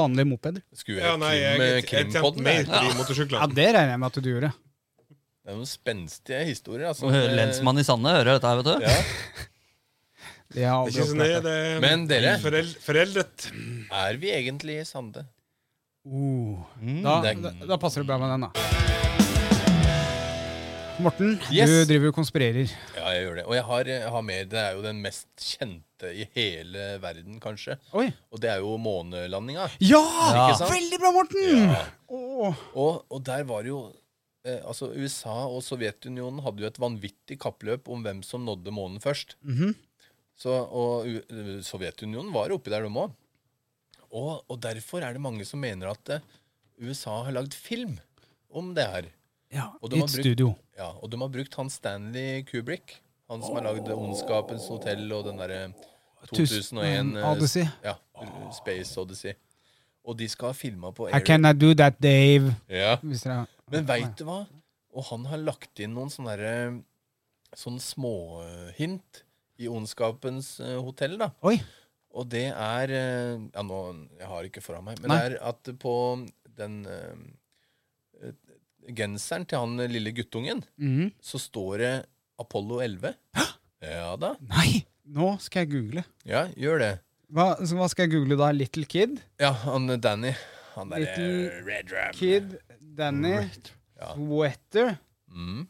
C: Vanlige mopeder.
D: Skulle
F: ja,
D: jeg
F: nei, jeg, jeg,
D: krim, eh,
F: jeg tjente
D: krimpodden?
F: mer
D: Det
F: på de
C: Ja,
F: motorsyklene.
C: Det regner jeg med at du gjorde.
D: er noen spenstige historier. Altså. Eh,
E: Nå hører Lensmannen i Sande hører dette her, vet du.
D: Ja.
C: Det er
F: Det er ikke så nøye, det er
D: Men dere,
F: forel, Foreldret.
D: er vi egentlig i Sande?
C: Oh. Da,
D: det
C: da,
D: er-
C: da passer det bra med den, da. Morten,
D: Yes.
C: du driver og konspirerer.
D: Ja, jeg gjør det. Og jeg har, eh, jeg har mer. Det er jo den mest kjente i hele verden, kanskje.
C: Oi.
D: Og det er jo månelandinga.
C: Ja!
D: Ikke sant?
C: Veldig bra, Morten!
D: Ja.
C: Åh.
D: Og, og der var det jo eh, Altså, USA og Sovjetunionen hadde jo et vanvittig kappløp om hvem som nådde månen først.
C: Mhm.
D: Så, og U eh, Sovjetunionen var oppi der, de òg. Og, og derfor er det mange som mener at eh, USA har lagd film om det her.
C: Ja,
D: Og de
C: I
D: har
C: et
D: brukt-
C: studio.
D: Ja, Og de har brukt han Stanley Kubrick. Han som har lagd 'Ondskapens hotell' og den derre 2001 eh,
C: Odyssey.
D: Ja, Space Odyssey. Og de skal ha filma på
C: I
D: Air-
C: cannot do that, Dave.
D: Ja.
C: Hvis dere
D: Men veit du hva? Og han har lagt inn noen sånne derre Sånne småhint i Ondskapens eh, hotell, da.
C: Oi.
D: Og det er eh, Ja, nå Jeg har ikke foran meg, men
C: Nei.
D: det er at på den eh, eh, genseren til han lille guttungen,
C: Mhm.
D: så står det Apollo 11. Ja da.
C: Nei! Nå skal jeg google.
D: Ja, gjør det.
C: Hva, så hva skal jeg google da? Little Kid?
D: Ja, han Danny. Han derre
C: Little
D: Red Ram.
C: Kid, Danny,
D: Ja.
C: Sweater
D: Mm.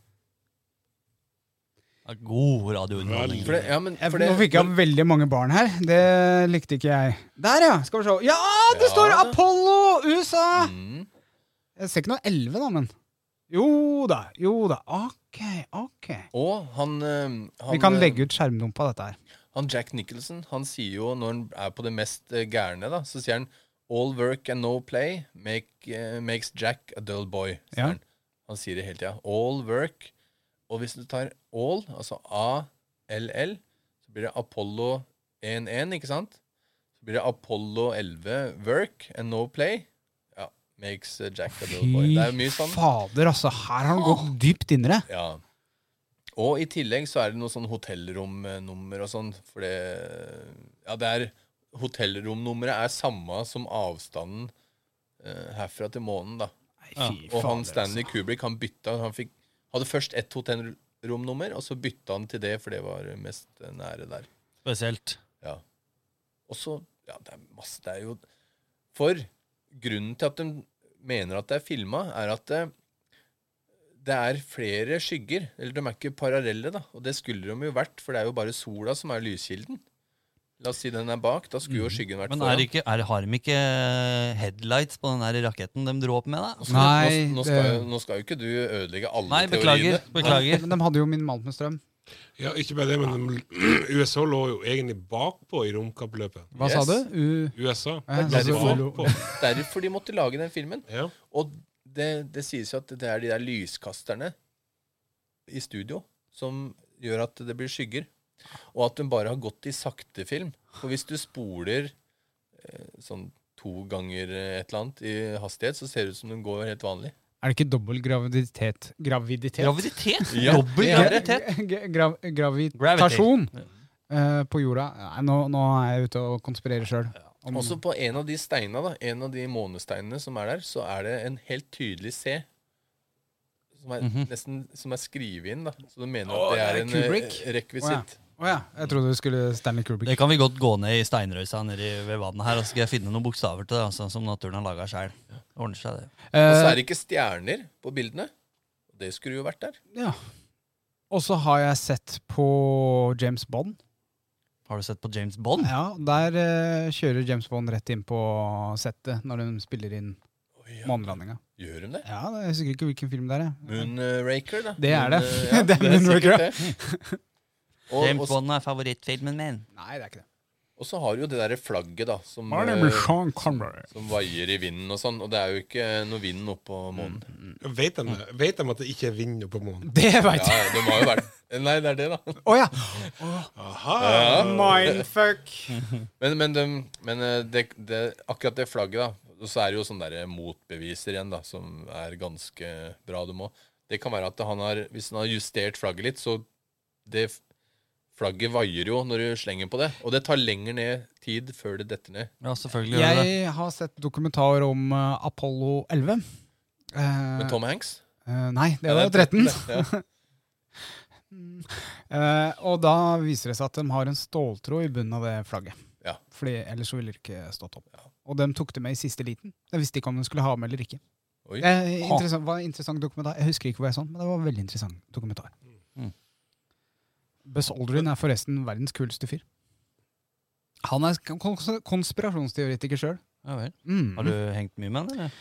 E: Ja, god radiounderholdning.
D: For det, ja, men,
C: jeg,
D: for det,
C: Nå fikk jeg opp veldig mange barn her. Det likte ikke jeg. Der, ja! Skal vi se. Ja, det
D: Ja.
C: står Apollo! USA!
D: mm,
C: Jeg ser ikke noe 11, da, men Jo da, jo da. Ok, ok.
D: Og han, eh, han
C: Vi kan
D: eh,
C: legge ut skjermdump av dette her.
D: Han Jack Nicholson han sier jo, når han er på det mest eh, gærne, da, så sier han All work and no play make, eh, makes Jack a dull boy. sier
C: Ja.
D: han. han sier det hele tida. All work. Og hvis du tar all, altså A-L-L, så blir det Apollo 1-1, ikke sant? Så blir det Apollo 11 work and no play. Ja, makes eh, Jack a dull boy. Det er jo mye sånn.
C: fader, altså. Her har han gått dypt inn i det.
D: Ja. Og i tillegg så er det noe sånn hotellromnummer og sånn, for det Ja, det er Hotellromnummeret er samme som avstanden eh, herfra til månen, da.
C: Fy
D: Og han
C: fader, altså.
D: Stanley Kubrick, han bytta Han fikk, hadde først ett hotellromnummer, og så bytta han til det, for det var mest eh, nære der.
E: Spesielt.
D: Ja. Og så Ja, det er masse Det er jo For grunnen til at de mener at det er filma, er at det, det er flere skygger. Eller de er ikke parallelle, da. Og det skulle de jo vært, for det er jo bare sola som er lyskilden. La oss si den er bak. Da skulle jo skyggen vært
E: Men
D: foran.
E: er ikke, er, har de ikke eh, headlights på den der raketten de dro opp med? da?
D: Så nå-
C: Nei,
D: nå, nå,
C: det-
D: skal, jo- nå skal jo ikke du ødelegge alle
E: Nei, beklager.
D: teoriene.
E: beklager.
C: Men de hadde jo min malt med strøm.
F: Ja, ikke bare det, men USA lå jo egentlig bakpå i romkappløpet.
C: Hva
D: Yes.
C: sa du? U... eh, altså,
F: USA.
C: Ja,
D: det er
F: lå
D: derfor.
F: bakpå.
D: Derfor de måtte lage den filmen.
F: Ja.
D: Og det, det sies jo at det er de der lyskasterne i studio som gjør at det blir skygger. Og at hun bare har gått i sakte film. For hvis du spoler eh, sånn to ganger eh, et eller annet i hastighet, så ser det ut som den går helt vanlig.
C: Er det ikke dobbel graviditet Graviditet?
E: Graviditet!
D: Ja,
E: Dobbel
D: det er det.
E: graviditet!
C: G- Grav gravitasjon eh, på jorda. Nei, nå, nå er jeg ute og konspirerer sjøl.
D: Også på en av de steina, da, en av de månesteinene som er der, så er det en helt tydelig C. Som er,
C: Mhm.
D: nesten, som er skrevet inn, da. Så du mener at det
C: det
D: er
C: er
D: en eh,
C: Kubrick?
D: rekvisitt.
C: Å ja. Jeg trodde du skulle Stanley Kubrick.
E: Det kan vi godt gå ned i steinrøysa nede ved vannet her, og så skal jeg finne noen bokstaver til det, altså, som naturen har laga sjøl. Ordner seg, det.
D: Og så
C: Eh,
D: er det ikke stjerner på bildene. Det skulle jo vært der.
C: Ja. Og så har jeg sett på James Bond.
E: Har du sett på James Bond?
C: Ja, der eh, kjører James Bond rett inn på settet når de spiller inn månelandinga.
D: Gjør de det?
C: Ja, det- jeg husker ikke hvilken film det er. jeg.
D: Moonraker, da.
C: Det er det.
D: Moon, eh,
C: Det er Moonraker,
D: sikkert
C: ja.
D: det. Og,
E: James
D: og,
E: Bond er favorittfilmen min.
C: Nei, det er ikke det.
D: og så har du jo det derre flagget, da, som,
C: My name is
D: eh,
C: Sean Connery.
D: som vaier i vinden og sånn. Og det er jo ikke noe vind oppå månen.
E: Mm.
F: Vet de, vet de at det ikke er vind oppe på månen?
C: Det veit
D: Ja,
C: jeg!
D: de har jo vært Nei, det er det, da.
C: Å ja!
F: Aha!
C: Mindfuck.
D: Men, men, de, men eh, det, det, akkurat det flagget, da. Og så er det jo sånne der eh, motbeviser igjen, da, som er ganske bra, de òg. Det kan være at han har, hvis han har justert flagget litt, så det f- Flagget vaier jo når du slenger på det, og det tar lenger ned tid før det detter ned.
E: Ja, selvfølgelig gjør det det.
C: Jeg har sett dokumentar om eh, Apollo 11. Eh,
D: Men Tom Hanks?
C: eh, nei, det
D: Ja,
C: var
D: det er
C: 13.
D: Ja.
C: Eh, og da viser det seg at de har en ståltråd i bunnen av det flagget.
D: Ja.
C: Fordi Ellers så ville det ikke stått opp. Og de tok det med i siste liten. Jeg visste ikke om de skulle ha med eller ikke.
D: Oi.
C: Det er interessant, var en interessant dokumentar. Jeg husker ikke hvor jeg så den, men det var en veldig interessant dokumentar.
E: Mm.
C: Buzz Aldrin er forresten verdens kuleste fyr. Han er kon- kon- konspirasjonsteoretiker sjøl.
E: Ja, vel.
C: Mm.
E: Har du hengt mye med den, eller?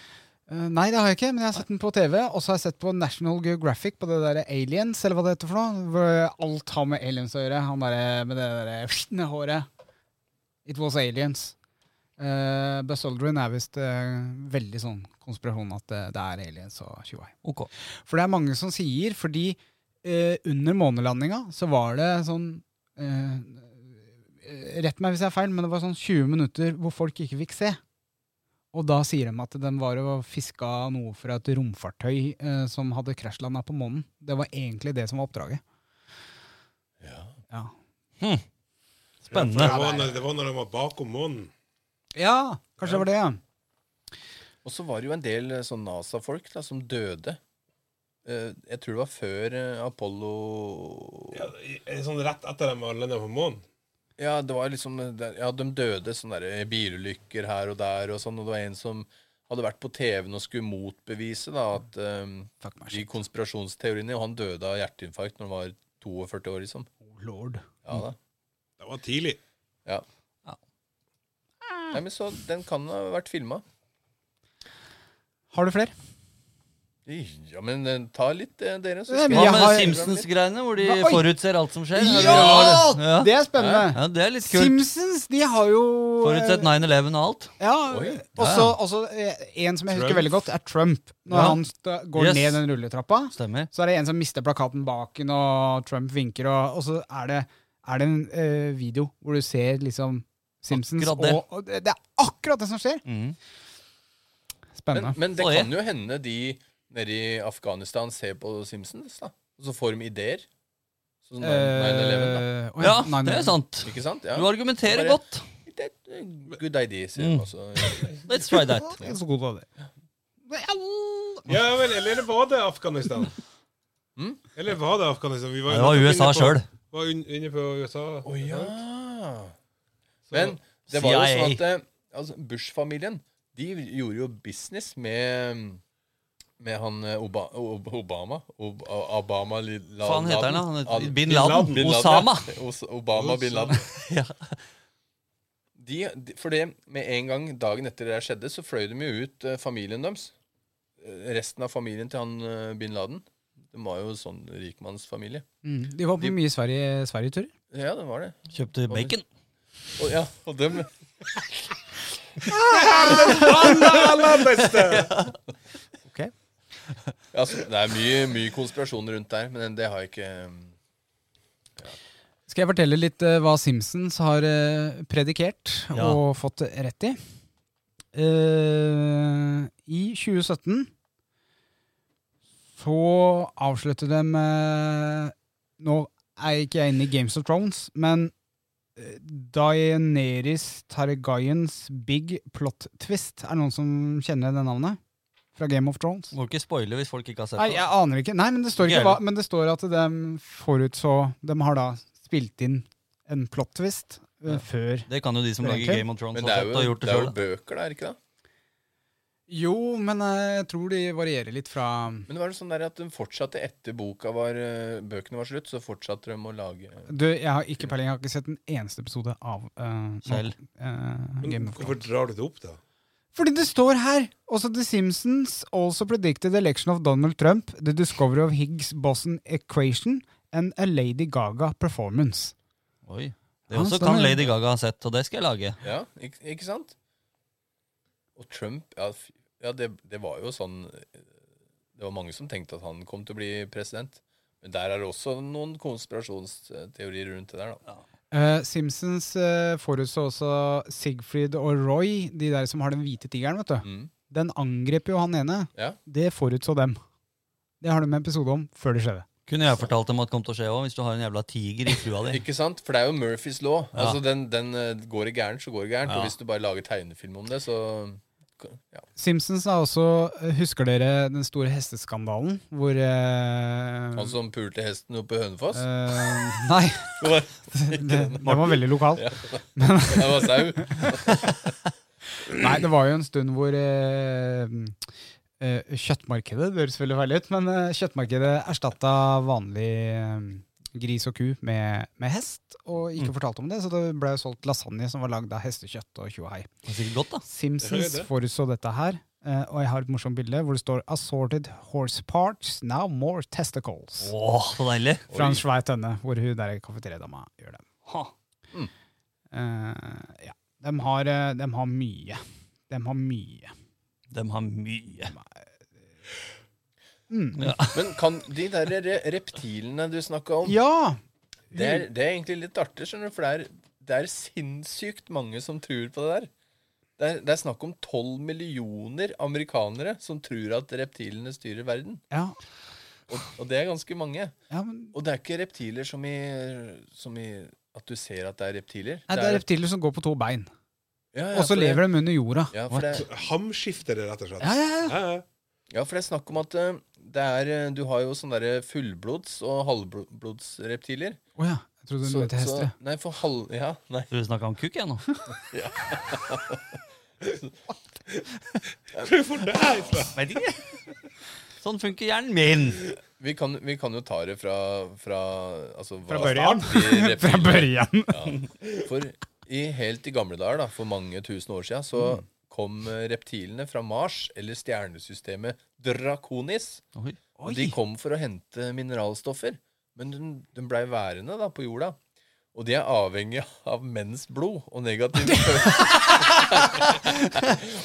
C: Eh, Nei, det har jeg ikke, men jeg har sett den på TV. Og så har jeg sett på National Geographic på det der Aliens, eller hva det heter for noe. Hvor alt har med aliens å gjøre. Han derre med det derre håret. It was aliens. Uh, Buzz Aldrin er visst eh, veldig sånn konspirasjon at eh, det, det er aliens og tjoei.
E: Ok.
C: For det er mange som sier, fordi eh, under månelandinga så var det sånn eh, Rett meg hvis jeg er feil, men det var sånn 20 minutter hvor folk ikke fikk se. Og da sier de at de var og fiska noe fra et romfartøy eh, som hadde krasjlanda på månen. Det var egentlig det som var oppdraget.
D: Ja.
C: Ja.
F: Det
E: Spennende.
F: var, når, det var når de var bakom månen.
C: ja kanskje det var det, ja.
D: Og så var det jo en del eh, sånn NASA-folk da, som døde. Eh, Jeg tror det var før eh, Apollo
F: Ja, i- sånn rett etter de var landa på månen.
D: Ja, det var liksom det- Ja, de døde sånne der eh, bilulykker her og der og sånn, og det var en som hadde vært på TV-en og skulle motbevise da at um,
C: Fuck meg,
D: de
C: shit.
D: konspirasjonsteoriene Og han døde av hjerteinfarkt når han var 42 år, liksom.
C: Oh, lord.
D: Ja da.
F: Det var tidlig.
D: Ja.
E: Ja.
D: Nei, men så den kan ha vært filma.
C: Har du flere?
D: Ja, men eh, ta litt, eh, dere, så
C: Nei, men
E: Hva
D: skal
C: jeg
E: med
C: har-
E: Simpsons-greiene, hvor de
C: Hva- Oi.
E: forutser alt som skjer? Er det-
C: Ja!
E: Ja.
C: Det er spennende.
E: Ja, det er litt kult.
C: Simpsons, de har jo eh,
E: Forutsett 9-11 og alt.
C: Ja,
D: Oi.
C: også, også eh, en som jeg husker
F: Trump.
C: veldig godt, er Trump. Når
E: Ja.
C: han sta- går
E: Yes.
C: ned den rulletrappa,
E: Stemmer.
C: så er det en som mister plakaten baken, og Trump vinker, og, og så er det, er det en eh, video hvor du ser liksom Simpsons,
E: Akkurat det.
C: Og, og det det er akkurat det som skjer!
E: Mm.
C: Spennende.
D: Men, men det
E: Oi.
D: kan jo hende de nede i Afghanistan ser på Simpsons, da. Og så får de ideer. Sånn 9-11,
C: Eh, å
E: Ja,
C: nei,
E: det
C: nei.
E: er sant.
D: da. Ikke sant? Ja.
E: Du argumenterer
D: Bare-
E: godt.
D: eh, Good idea, sier
E: Mm.
D: altså. de også.
E: Let's try that.
C: Jeg er så god på det.
F: Ja vel, eller var det Afghanistan?
C: Hm?
D: Mm?
F: Eller var det Afghanistan? Vi
E: Ja, Det var
F: nettopp
E: USA
F: inne på-
E: sjøl.
F: Var un- inne på USA.
D: Å ja.
F: Så-
D: Men det var jo
E: CIA.
D: sånn at eh, altså, Bush-familien de gjorde jo business med med han eh, Oba Ob- Obama Ob Obama li- la-
E: Faen heter han da? Han
D: Laden.
E: heter Bin Laden.
D: Bin Laden,
E: Osama.
D: ja. Os Obama Bin Laden.
E: Ja.
D: De, de, for det, med en gang dagen etter det der skjedde, så fløy de jo ut eh, familien deres. Eh, Resten av familien til han eh, bin Laden. De var jo sånn rikmannsfamilie.
C: Mm, de var på
D: De-
C: mye Sverige- Sverige-turer.
D: Ja, det var det.
E: Kjøpte bacon.
D: Og, ja, og dem
C: Ok.
D: Ja, så det er mye, mye konspirasjon rundt der, men det har jeg ikke
C: Skal jeg fortelle litt eh, hva Simpsons har eh, predikert
E: Ja.
C: og fått rett i? Eh, I 2017 så avslutter de eh, Nå er ikke jeg inne i Games of Thrones, men eh, Daenerys Targaryens Big Plot Twist. Er det noen som kjenner det navnet? Fra Game of Thrones?
E: Må ikke spoile hvis folk ikke har sett
C: Nei, jeg
E: det.
C: aner ikke. Nei, men det står
E: Ikke
C: ikke hva, men det står at de forutså De har da spilt inn en plot twist eh, før
E: Det kan jo de som
C: Det er
E: lager
C: ok.
E: Game of Thrones
D: Men
E: ha
D: det er
E: sett
D: jo,
E: og gjort
D: det
E: det
D: er
E: sjøl.
D: jo bøker der, ikke det?
C: Jo, men eh, jeg tror de varierer litt fra
D: Men det var jo sånn der at de fortsatte etter boka var, eh, bøkene var slutt, så fortsatte de å lage
C: Du, jeg har ikke peiling, jeg har ikke sett en eneste episode av eh,
E: Selv.
C: eh,
F: Men
C: Game of
F: hvorfor
C: Thrones.
F: drar du det opp, da?
C: Fordi det står her! Også The Simpsons also predicted election of Donald Trump, the discovery of Higgs-Bossen equation and a Lady Gaga performance.
E: Oi. Det
C: Han
E: også
C: står
E: kan
C: med-
E: Lady Gaga ha sett, og det skal jeg lage.
D: Ja, ikke, ikke sant? Og Trump Ja, fy- ja det, det var jo sånn eh, Det var mange som tenkte at han kom til å bli president. Men der er det også noen konspirasjonsteorier rundt det der, da.
C: Eh, Simpsons eh, forutså også Sigfrid og Roy, de der som har den hvite tigeren, vet du.
D: Mm.
C: Den angrep jo han ene.
D: Ja.
C: Det forutså dem. Det har de en episode om før det skjedde.
E: Kunne jeg fortalt dem at det kom til å skje òg, hvis du har en jævla tiger i flua di.
D: Ikke sant? For det er jo Murphys law.
E: Ja.
D: Altså, den, den eh, går det gærent, så går det gærent.
E: Ja.
D: Og hvis du bare lager tegnefilm om det, så ja.
C: Simpsons har også eh, Husker dere den store hesteskandalen hvor eh,
E: Mm.
D: Han som pulte hesten oppe i Hønefoss.
C: eh, Nei,
D: Det var,
C: det, den var veldig lokal.
D: det var sau.
C: Nei, det var jo en stund hvor eh, eh, kjøttmarkedet Det høres veldig feil ut, men eh, kjøttmarkedet erstatta vanlig eh, gris og ku med, med hest, og
E: Mm.
C: ikke fortalte om det, så det ble solgt lasagne som var lagd av hestekjøtt og tjohei.
E: Det er sikkert godt, da.
C: Simpsons
F: Det er det.
C: forutså dette her, eh, og jeg har et morsomt bilde hvor det står 'Assorted horse parts, now more testicles'.
E: Åh, så deilig.
C: Fra en svær tønne, hvor hun der kafeteriadama gjør det.
E: Mm.
C: Eh, ja. De har, eh, de har mye. De har mye.
E: De har mye.
D: Men kan de der re reptilene du snakka om
C: Ja!
D: Det er, det er egentlig litt artig, skjønner du, for det er, det er sinnssykt mange som tror på det der. Det er, det er snakk om tolv millioner amerikanere som tror at reptilene styrer verden.
C: Ja,
D: Og, og det er ganske mange.
C: ja men
D: Og det er ikke reptiler som i, som i at du ser at det er reptiler.
C: Nei, det er reptiler som går på to bein,
D: ja, ja,
C: og så
D: for det-
C: lever de under jorda.
D: ja for, det,
F: Hamskiftere, rett og slett.
C: Ja, ja, ja.
F: Ja, ja.
D: ja, for det er snakk om at eh, det er, eh, du har jo sånne der fullblods- og halvblodsreptiler.
C: Å ja. Jeg trodde hun
D: Så-
C: mente hester.
D: så- Nei, for halv... Ja, nei.
E: Du snakka om kukk, jeg nå.
F: Hvor får du det her fra?
E: Vet ikke. Sånn funker hjernen min.
D: Vi kan, vi kan jo ta det fra Fra, altså, hva-
C: Fra børjan.
D: de reptilene-
C: Fra børjan.
D: For i, helt i gamle dager, da, for mange tusen år siden, så
C: Mm.
D: kom eh, reptilene fra Mars, eller stjernesystemet Draconis.
E: Oi.
D: Og de kom for å hente mineralstoffer. Men de, de blei værende da, på jorda. Og de er avhengig av menns blod og negative følelser.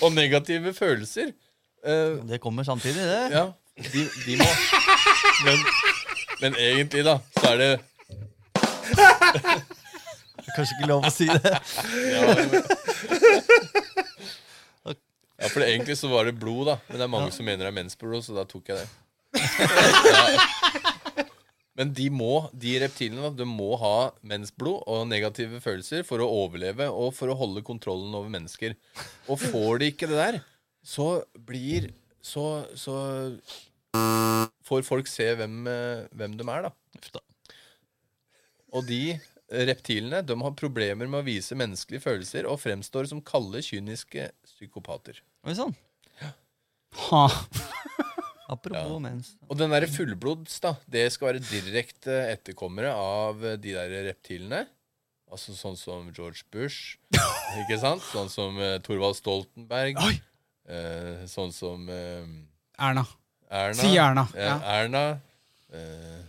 D: og negative følelser. Eh,
E: Det kommer samtidig, det.
D: ja, de, de må men, men egentlig, da, så er det
E: Kanskje ikke lov å si det.
D: Ja, for det, egentlig så var det blod, da. Men det er mange som mener det er mensblod, så da tok jeg det. ja. Men de må, de reptilene da, de må ha mensblod og negative følelser for å overleve og for å holde kontrollen over mennesker. Og får de ikke det der, så blir Så, så får folk se hvem, eh, hvem de er, da.
E: Uff da.
D: Og de reptilene de har problemer med å vise menneskelige følelser og fremstår som kalde, kyniske psykopater.
E: Oi sånn. sann.
C: Ha.
E: Apropos mens.
D: Og den derre fullblods, da, det skal være direkte etterkommere av eh, de der reptilene. Altså sånn som George Bush, ikke sant? Sånn som eh, Thorvald Stoltenberg. Eh, sånn som eh,
C: Erna.
D: Erna.
C: Si Erna.
D: Eh,
C: Ja.
D: Erna. Eh,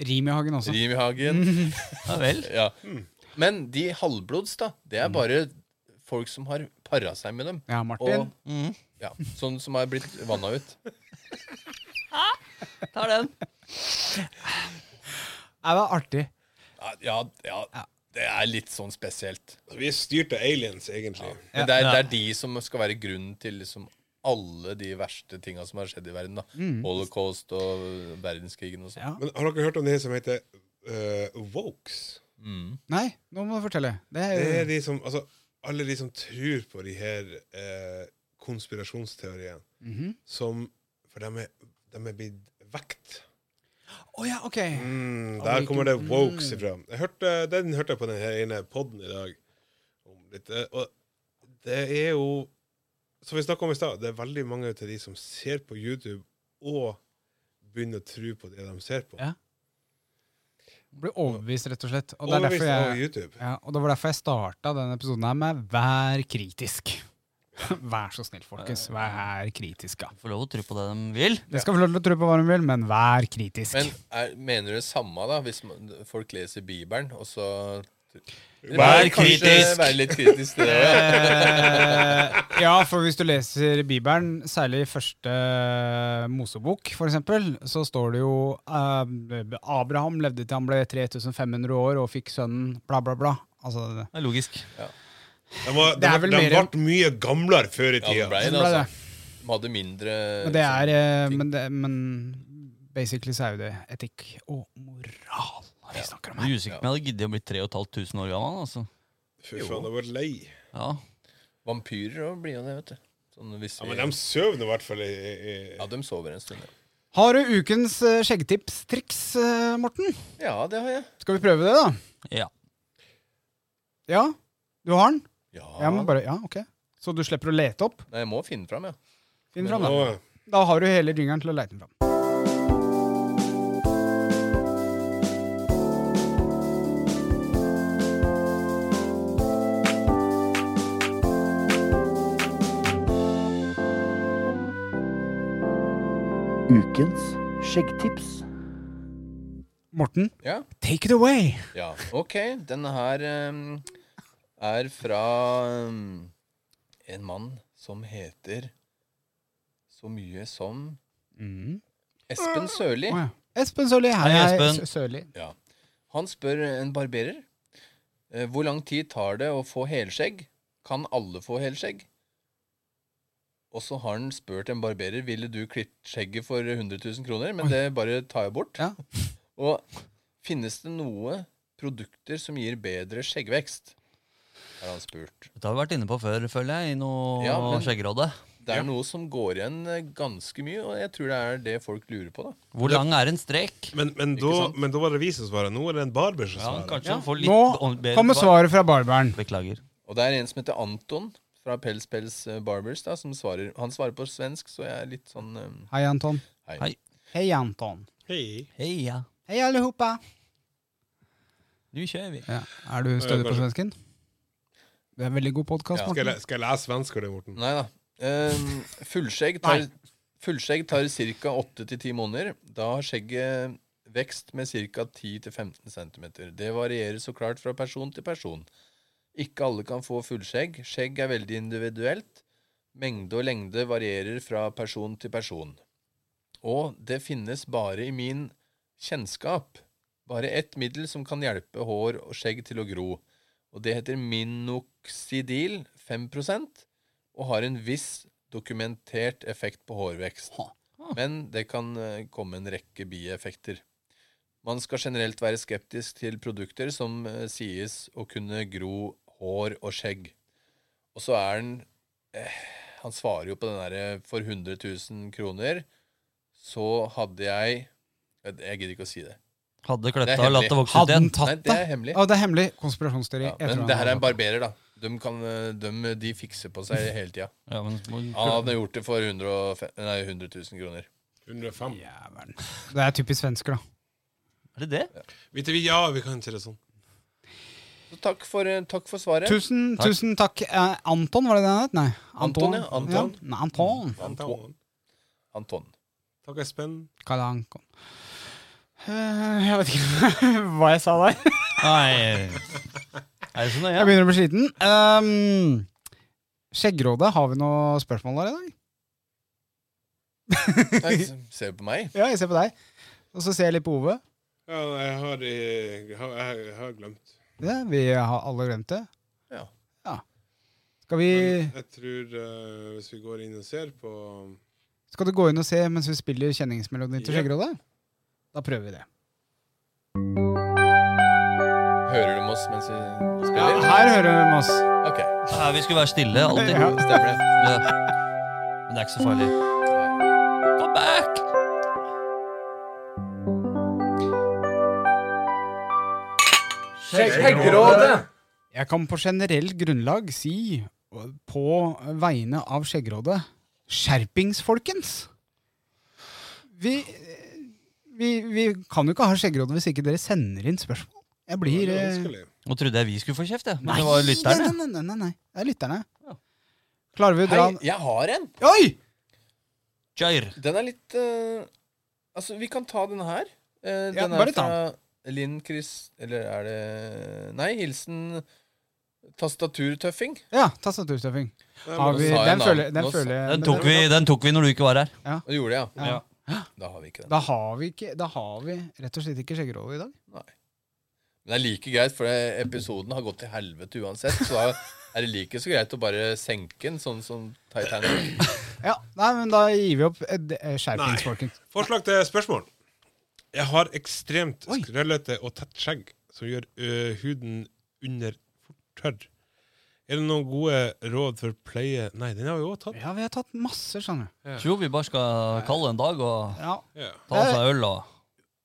C: Rim i hagen også.
D: Rimi Hagen.
E: Ja vel.
D: Ja. Men de halvblods, da, det er bare folk som har para seg med dem.
C: Ja, Martin. Mm.
D: Og- Ja, sånn som har blitt vanna ut.
E: Tar den.
C: Nei, det var artig.
D: Ja, ja, ja, det er litt sånn spesielt.
F: Vi er styrt av aliens, egentlig.
D: Men det er, det er de som skal være grunnen til liksom alle de verste tinga som har skjedd i verden. da Holocaust og verdenskrigen og sånn.
C: Mm. Ja.
F: Men har dere hørt om det som heter eh, Wokes?
C: Nei, nå må du fortelle. Det er,
F: Det er de som, altså, alle de som tror på de her eh, konspirasjonsteoriene,
C: Mhm.
F: som For de er, de er blitt vekt.
C: Å ja, ok.
F: Mm, der kommer det
C: mm.
F: wokes ifra. Jeg hørte, den hørte jeg på den her ene podden i dag. Om litt, eh, og det er jo som vi snakket om i stad, det er veldig mange av de som ser på YouTube og begynner å tro på det de ser på.
C: Ja. Blir overbevist, rett og slett. Og det, er derfor
F: Overbevist av
C: jeg,
F: YouTube.
C: ja, og det var derfor jeg starta denne episoden her med 'vær kritisk'. Vær så snill, folkens. Vær kritiske.
E: Får lov å tro på det de vil.
C: Dere skal få lov til å tro på hva dere vil, men vær kritisk.
D: Men er, mener du det samme, da, hvis man- folk leser Bibelen, og så
E: Vær
D: Kanskje
E: kritisk.
D: Være litt kritisk til det ja.
C: Eh, ja, for hvis du leser Bibelen, særlig første eh, Mosebok, for eksempel, så står det jo eh, Abraham levde til han ble 3500 år og fikk sønnen bla, bla, bla. Altså, det,
E: Det er logisk.
F: De, var,
C: Det
F: de,
C: er vel
F: de
C: mer-
F: ble mye gamlere før i
D: Ja, det
F: tida.
D: ble
C: Sånn
D: det,
C: ble
D: altså. De hadde mindre sånn
C: Men det er eh,
D: ting.
C: men, det, men basically så er jo det etikk og moral vi snakker om
E: Jeg
C: her.
E: er usikker på om jeg hadde giddet å bli 3500 år gammel. altså.
F: Fy faen, jeg var lei.
E: Ja,
D: Vampyrer òg blir jo det, vet du. Sånn, hvis
F: Ja,
D: vi,
F: men de sover nå i hvert fall i, i
D: ja, de sover en stund. ja.
C: Har du ukens eh, skjeggtips-triks, eh, Morten?
D: Ja, det har jeg.
C: Skal vi prøve det, da?
E: Ja.
C: Ja? Du har den?
D: Ja.
C: Jeg må bare, ja, ok. Så du slipper å lete opp?
D: Nei, jeg må finne fram, ja.
C: Finn fram, da.
F: Nå-
C: Da har du hele jingeren til å leite den fram.
I: Ukens skjeggtips.
C: Morten,
D: ja.
C: take it away!
D: Ja, ok. Denne her em, er fra em, en mann som heter så mye som Espen Sørli.
C: Å ja. Espen Sørli. Hei,
E: Hei,
C: hei,
E: Espen.
C: S- Sørli.
D: Han spør en barberer eh, hvor lang tid tar det å få helskjegg. Kan alle få helskjegg? Og så har han spurt en barberer ville du klippe skjegget for 100 000 kroner, men det bare tar jeg bort.
C: Ja.
D: Og finnes det noe produkter som gir bedre skjeggvekst? Har han spurt.
E: Dette har vi vært inne på før, føler jeg, i noe
D: Ja, men-
E: skjeggråde.
D: Det er noe som går igjen eh, ganske mye, og jeg tror det er det folk lurer på, da.
E: Hvor lang er en strek?
F: Men, men, da,
D: sant?
F: men da var det vi som svarer. Nå er det en barber som
E: Ja,
F: svarer.
E: kanskje han får litt
C: Nå
E: ordentlig-
C: kommer svaret fra barberen.
E: Beklager.
D: Og det er en som heter Anton fra Pels Pels eh, Barbers, da, som svarer. Han svarer på svensk, så jeg er litt sånn eh,
C: Hei, Anton.
D: Hei.
E: Hei.
C: Hei, Anton.
F: Hei.
E: Heia.
C: Hei, alle hopa.
E: Nu kjører vi.
C: Ja. Er du stødig på svensken? Det er en veldig god podkast,
D: Ja.
F: Skal jeg,
C: Morten.
F: le- skal jeg lese svensk for deg, Morten?
D: Nei da. Ehm, fullskjegg tar, fullskjegg tar ca. 8-10 måneder. Da har skjegget vekst med ca. 10-15 cm. Det varierer så klart fra person til person. Ikke alle kan få fullskjegg. Skjegg er veldig individuelt. Mengde og lengde varierer fra person til person. Og det finnes bare i min kjennskap bare ett middel som kan hjelpe hår og skjegg til å gro, og det heter minoxidil 5 og har en viss dokumentert effekt på hårvekst. Men det kan eh, komme en rekke bieffekter. Man skal generelt være skeptisk til produkter som eh, sies å kunne gro hår og skjegg. Og så er han eh, Han svarer jo på den derre for 100 000 kroner så hadde jeg Jeg jeg gidder ikke å si det.
E: Hadde
D: Det
E: kløtta
D: er
E: og latt det
D: hemmelig.
E: vokse ut
C: Hadde den
E: igjen.
D: Nei,
C: tatt
D: det
C: det?
D: er hemmelig.
C: Å, det er hemmelig. Konspirasjonsteori.
D: Ja,
C: Jeg tror
D: men
C: han
D: det her er
C: hadde
D: en barberer, da. De, kan, eh, de, de fikser på seg hele tida.
E: Ja, men,
D: Han hadde gjort det for 105, nei, 100 000 kroner.
F: 105.
C: tatt det. Jævlen. Det er typisk svensker, da.
E: er det det?
F: Vet du, ja, vi kan si det sånn.
D: Så takk for, eh, takk for svaret.
C: Tusen
E: Takk.
C: takk. Tusen takk. Eh, Anton, var det det han het? Nei.
D: Anton, ja,
C: Ja.
D: Anton.
C: Nei, Anton.
F: Anton.
D: Anton.
F: Takk, Espen.
C: Kalle Anton. Eh, Jeg vet ikke hva jeg sa der.
E: Nei. Er det sånn, så nøye?
C: Jeg begynner å bli sliten. Ehm, Skjeggrådet, har vi noe spørsmål der i dag?
D: Nei, s- ser du på meg?
C: Ja, jeg ser på deg. Og så ser jeg litt på Ove.
F: Ja, jeg har, eh, jeg har, jeg har glemt.
C: Ja, vi har alle glemt det.
D: Ja.
C: Skal, vi,
F: Men jeg tror eh, hvis vi går inn og ser på
C: skal du gå inn og se mens vi spiller kjenningsmelodien til
F: Ja.
C: Skjeggrådet? Da prøver vi det.
D: Hører de oss mens vi
C: Ja,
D: spiller?
C: her hører vi med oss.
D: Ok,
E: Nei, vi skulle være stille alltid.
C: Ja.
D: stemmer det.
E: Ja. Men det er ikke så farlig. Come back!
C: Jeg kan på generell grunnlag si på vegne av Skjeggrådet Skjerpings, folkens! Vi, vi, vi kan jo ikke ha Skjeggrådet hvis ikke dere sender inn spørsmål. Jeg blir eh,
F: Vanskelig.
E: Nå trodde jeg vi skulle få kjeft, jeg. Men det var jo lytterne.
C: Nei, nei, nei, nei, nei. Det er lytterne. Klarer vi å dra
D: Hei, jeg har en!
C: Oi!
E: Jair.
D: Den er litt eh, Altså, vi kan ta den her. Eh,
C: Ja,
D: den
C: bare
D: er
C: ta
D: fra Linn Chris Eller er det Nei, hilsen Tastaturtøffing.
C: Ja, tastaturstøffing. Har vi,
D: Nå sa jeg
C: den
D: navn.
C: føler, den
D: Nå sa-
C: føler jeg
E: Den tok, vi, den tok vi når du ikke var her.
D: Nå gjorde jeg,
C: Ja.
D: ja. Da har vi ikke den.
C: Da har vi ikke Da har vi rett og slett ikke skjeggerolle i dag.
D: Men det er like greit, for det- episoden har gått til helvete uansett. Så da er det like så greit å bare senke den, sånn som Titanic.
C: Ja, Nei, men da gir vi opp eh, d- eh, skjerpings,
F: Nei.
C: folkens.
F: Forslag til spørsmål. Jeg har ekstremt
C: Oi.
F: skrøllete og tett skjegg som gjør ø, huden under fort tørr. Er det noen gode råd for pleie Nei, den har vi òg tatt.
C: Ja, vi har tatt masse, skjønner du.
E: Tror vi bare skal kalle det en dag og
C: Ja.
F: Ja.
E: ta oss en øl og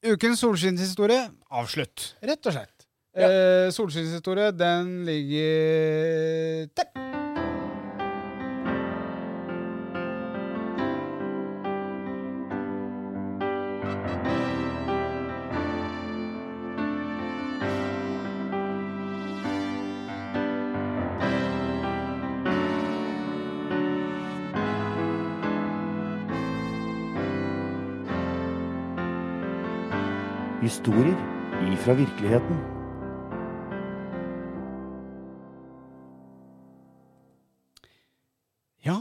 C: Ukens solskinnshistorie avslutt. Rett og slett. Eh, solskinnshistorie, den ligger der.
I: Historier ifra virkeligheten.
C: Ja.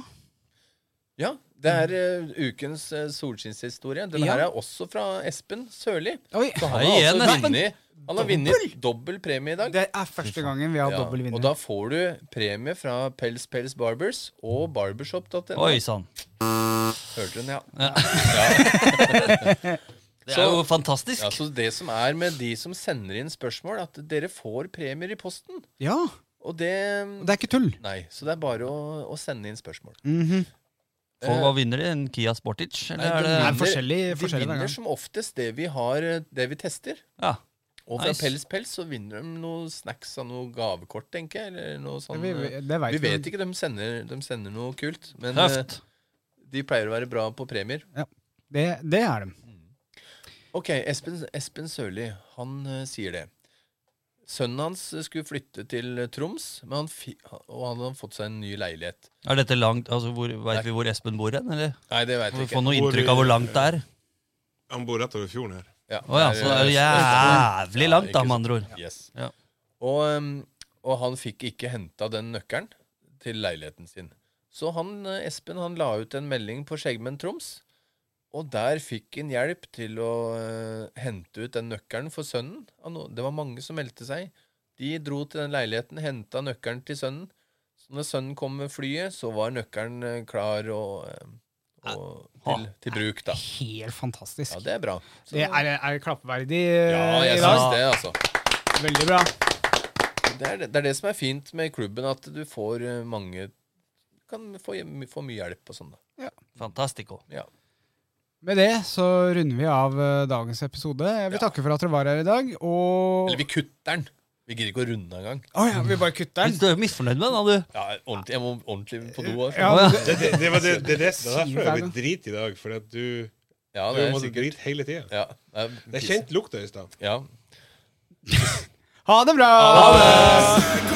D: Ja, det er eh, ukens uh, solskinnshistorie. Den her
C: Ja.
D: er også fra Espen Sørli.
C: Oi.
D: Så han
E: Hei
D: har
E: igjen,
D: altså
E: Espen.
D: vunnet Han har vunnet dobbel premie i dag.
C: Det er første gangen vi har
D: Ja,
C: dobbel
D: og
C: vinner.
D: da får du premie fra Pels Pels Barbers og barbershop.no.
E: Oi sann.
D: Hørte du den, ja.
E: Det er jo fantastisk.
D: ja. Så det som er med de som sender inn spørsmål, at dere får premier i posten.
C: Ja,
D: Og det
C: og det er ikke tull.
D: Nei, så det er bare å, å sende inn spørsmål.
C: Mhm.
E: Og hva vinner de? En Kia Sportage? Eller er det
C: Nei,
D: vinner-
C: forskjellig- forskjellig
D: de
C: hver gang.
D: vinner som oftest det vi har, eh, det vi tester.
E: Ja.
D: Og fra
E: Nice.
D: Pels Pels så vinner de noe snacks av noe gavekort, tenker jeg. Eller noe sånn.
C: Vi, vi,
D: eh,
C: det vet
D: vi vet ikke, de sender, de sender noe kult. Men eh,
E: Tøft.
D: de pleier å være bra på premier.
C: Det, det er dem.
D: Ok, Espen, Espen Sørli, han eh, sier det. Sønnen hans eh, skulle flytte til eh, Troms, men han fi, ha- og han hadde fått seg en ny leilighet.
E: Er dette langt altså, hvor, Veit vi hvor Espen bor hen, eller?
D: Nei, det veit
E: Må
D: jeg
E: vi få
D: ikke.
E: noe inntrykk av hvor langt det er?
F: Han bor rett over fjorden her.
D: Ja,
E: Å ja,
D: der,
E: så det er
D: eh,
E: jo jævlig langt,
D: ikke
E: da,
D: sant.
E: med andre ord.
D: Yes.
E: Ja.
D: Og, ehm, og han fikk ikke henta den nøkkelen til leiligheten sin. Så han, eh, Espen han la ut en melding på Skjeggmenn Troms, og der fikk han hjelp til å eh, hente ut den nøkkelen for sønnen. Han- Det var mange som meldte seg. De dro til den leiligheten, henta nøkkelen til sønnen. Så når sønnen kom med flyet, så var nøkkelen eh, klar og, eh, og til, til bruk, da.
C: Helt fantastisk.
D: Ja, det er bra. Så-
C: Det er, er klappeverdig
D: ja,
C: eh,
D: jeg
C: i dag.
D: syns det, altså.
C: Veldig bra.
D: Det er det, det er det som er fint med klubben, at du får eh, mange Kan få, hjem- få mye hjelp og sånn, da.
E: Fantastico.
D: Ja.
C: Med det så runder vi av eh, dagens episode. Jeg vil
D: Ja.
C: takke for at dere var her i dag, og
D: Eller vi kutter den! Vi gidder ikke å runde engang.
C: Å ja, vi bare kutter den.
E: Du er jo misfornøyd med den, da, du.
D: Ja, ordentlig, jeg må ordentlig på do. Altså.
C: Ja,
E: Å, ja.
C: det-
F: Det, det, det, var det, det, er det, det er derfor jeg
C: Sier
F: ble drit i dag, for at du,
D: Ja,
F: du
D: det er
F: måtte
D: sikkert
F: drite hele tida.
D: ja, det er
F: Jeg kjente lukta i stad.
D: Ja.
C: ha det bra!
B: Skjegg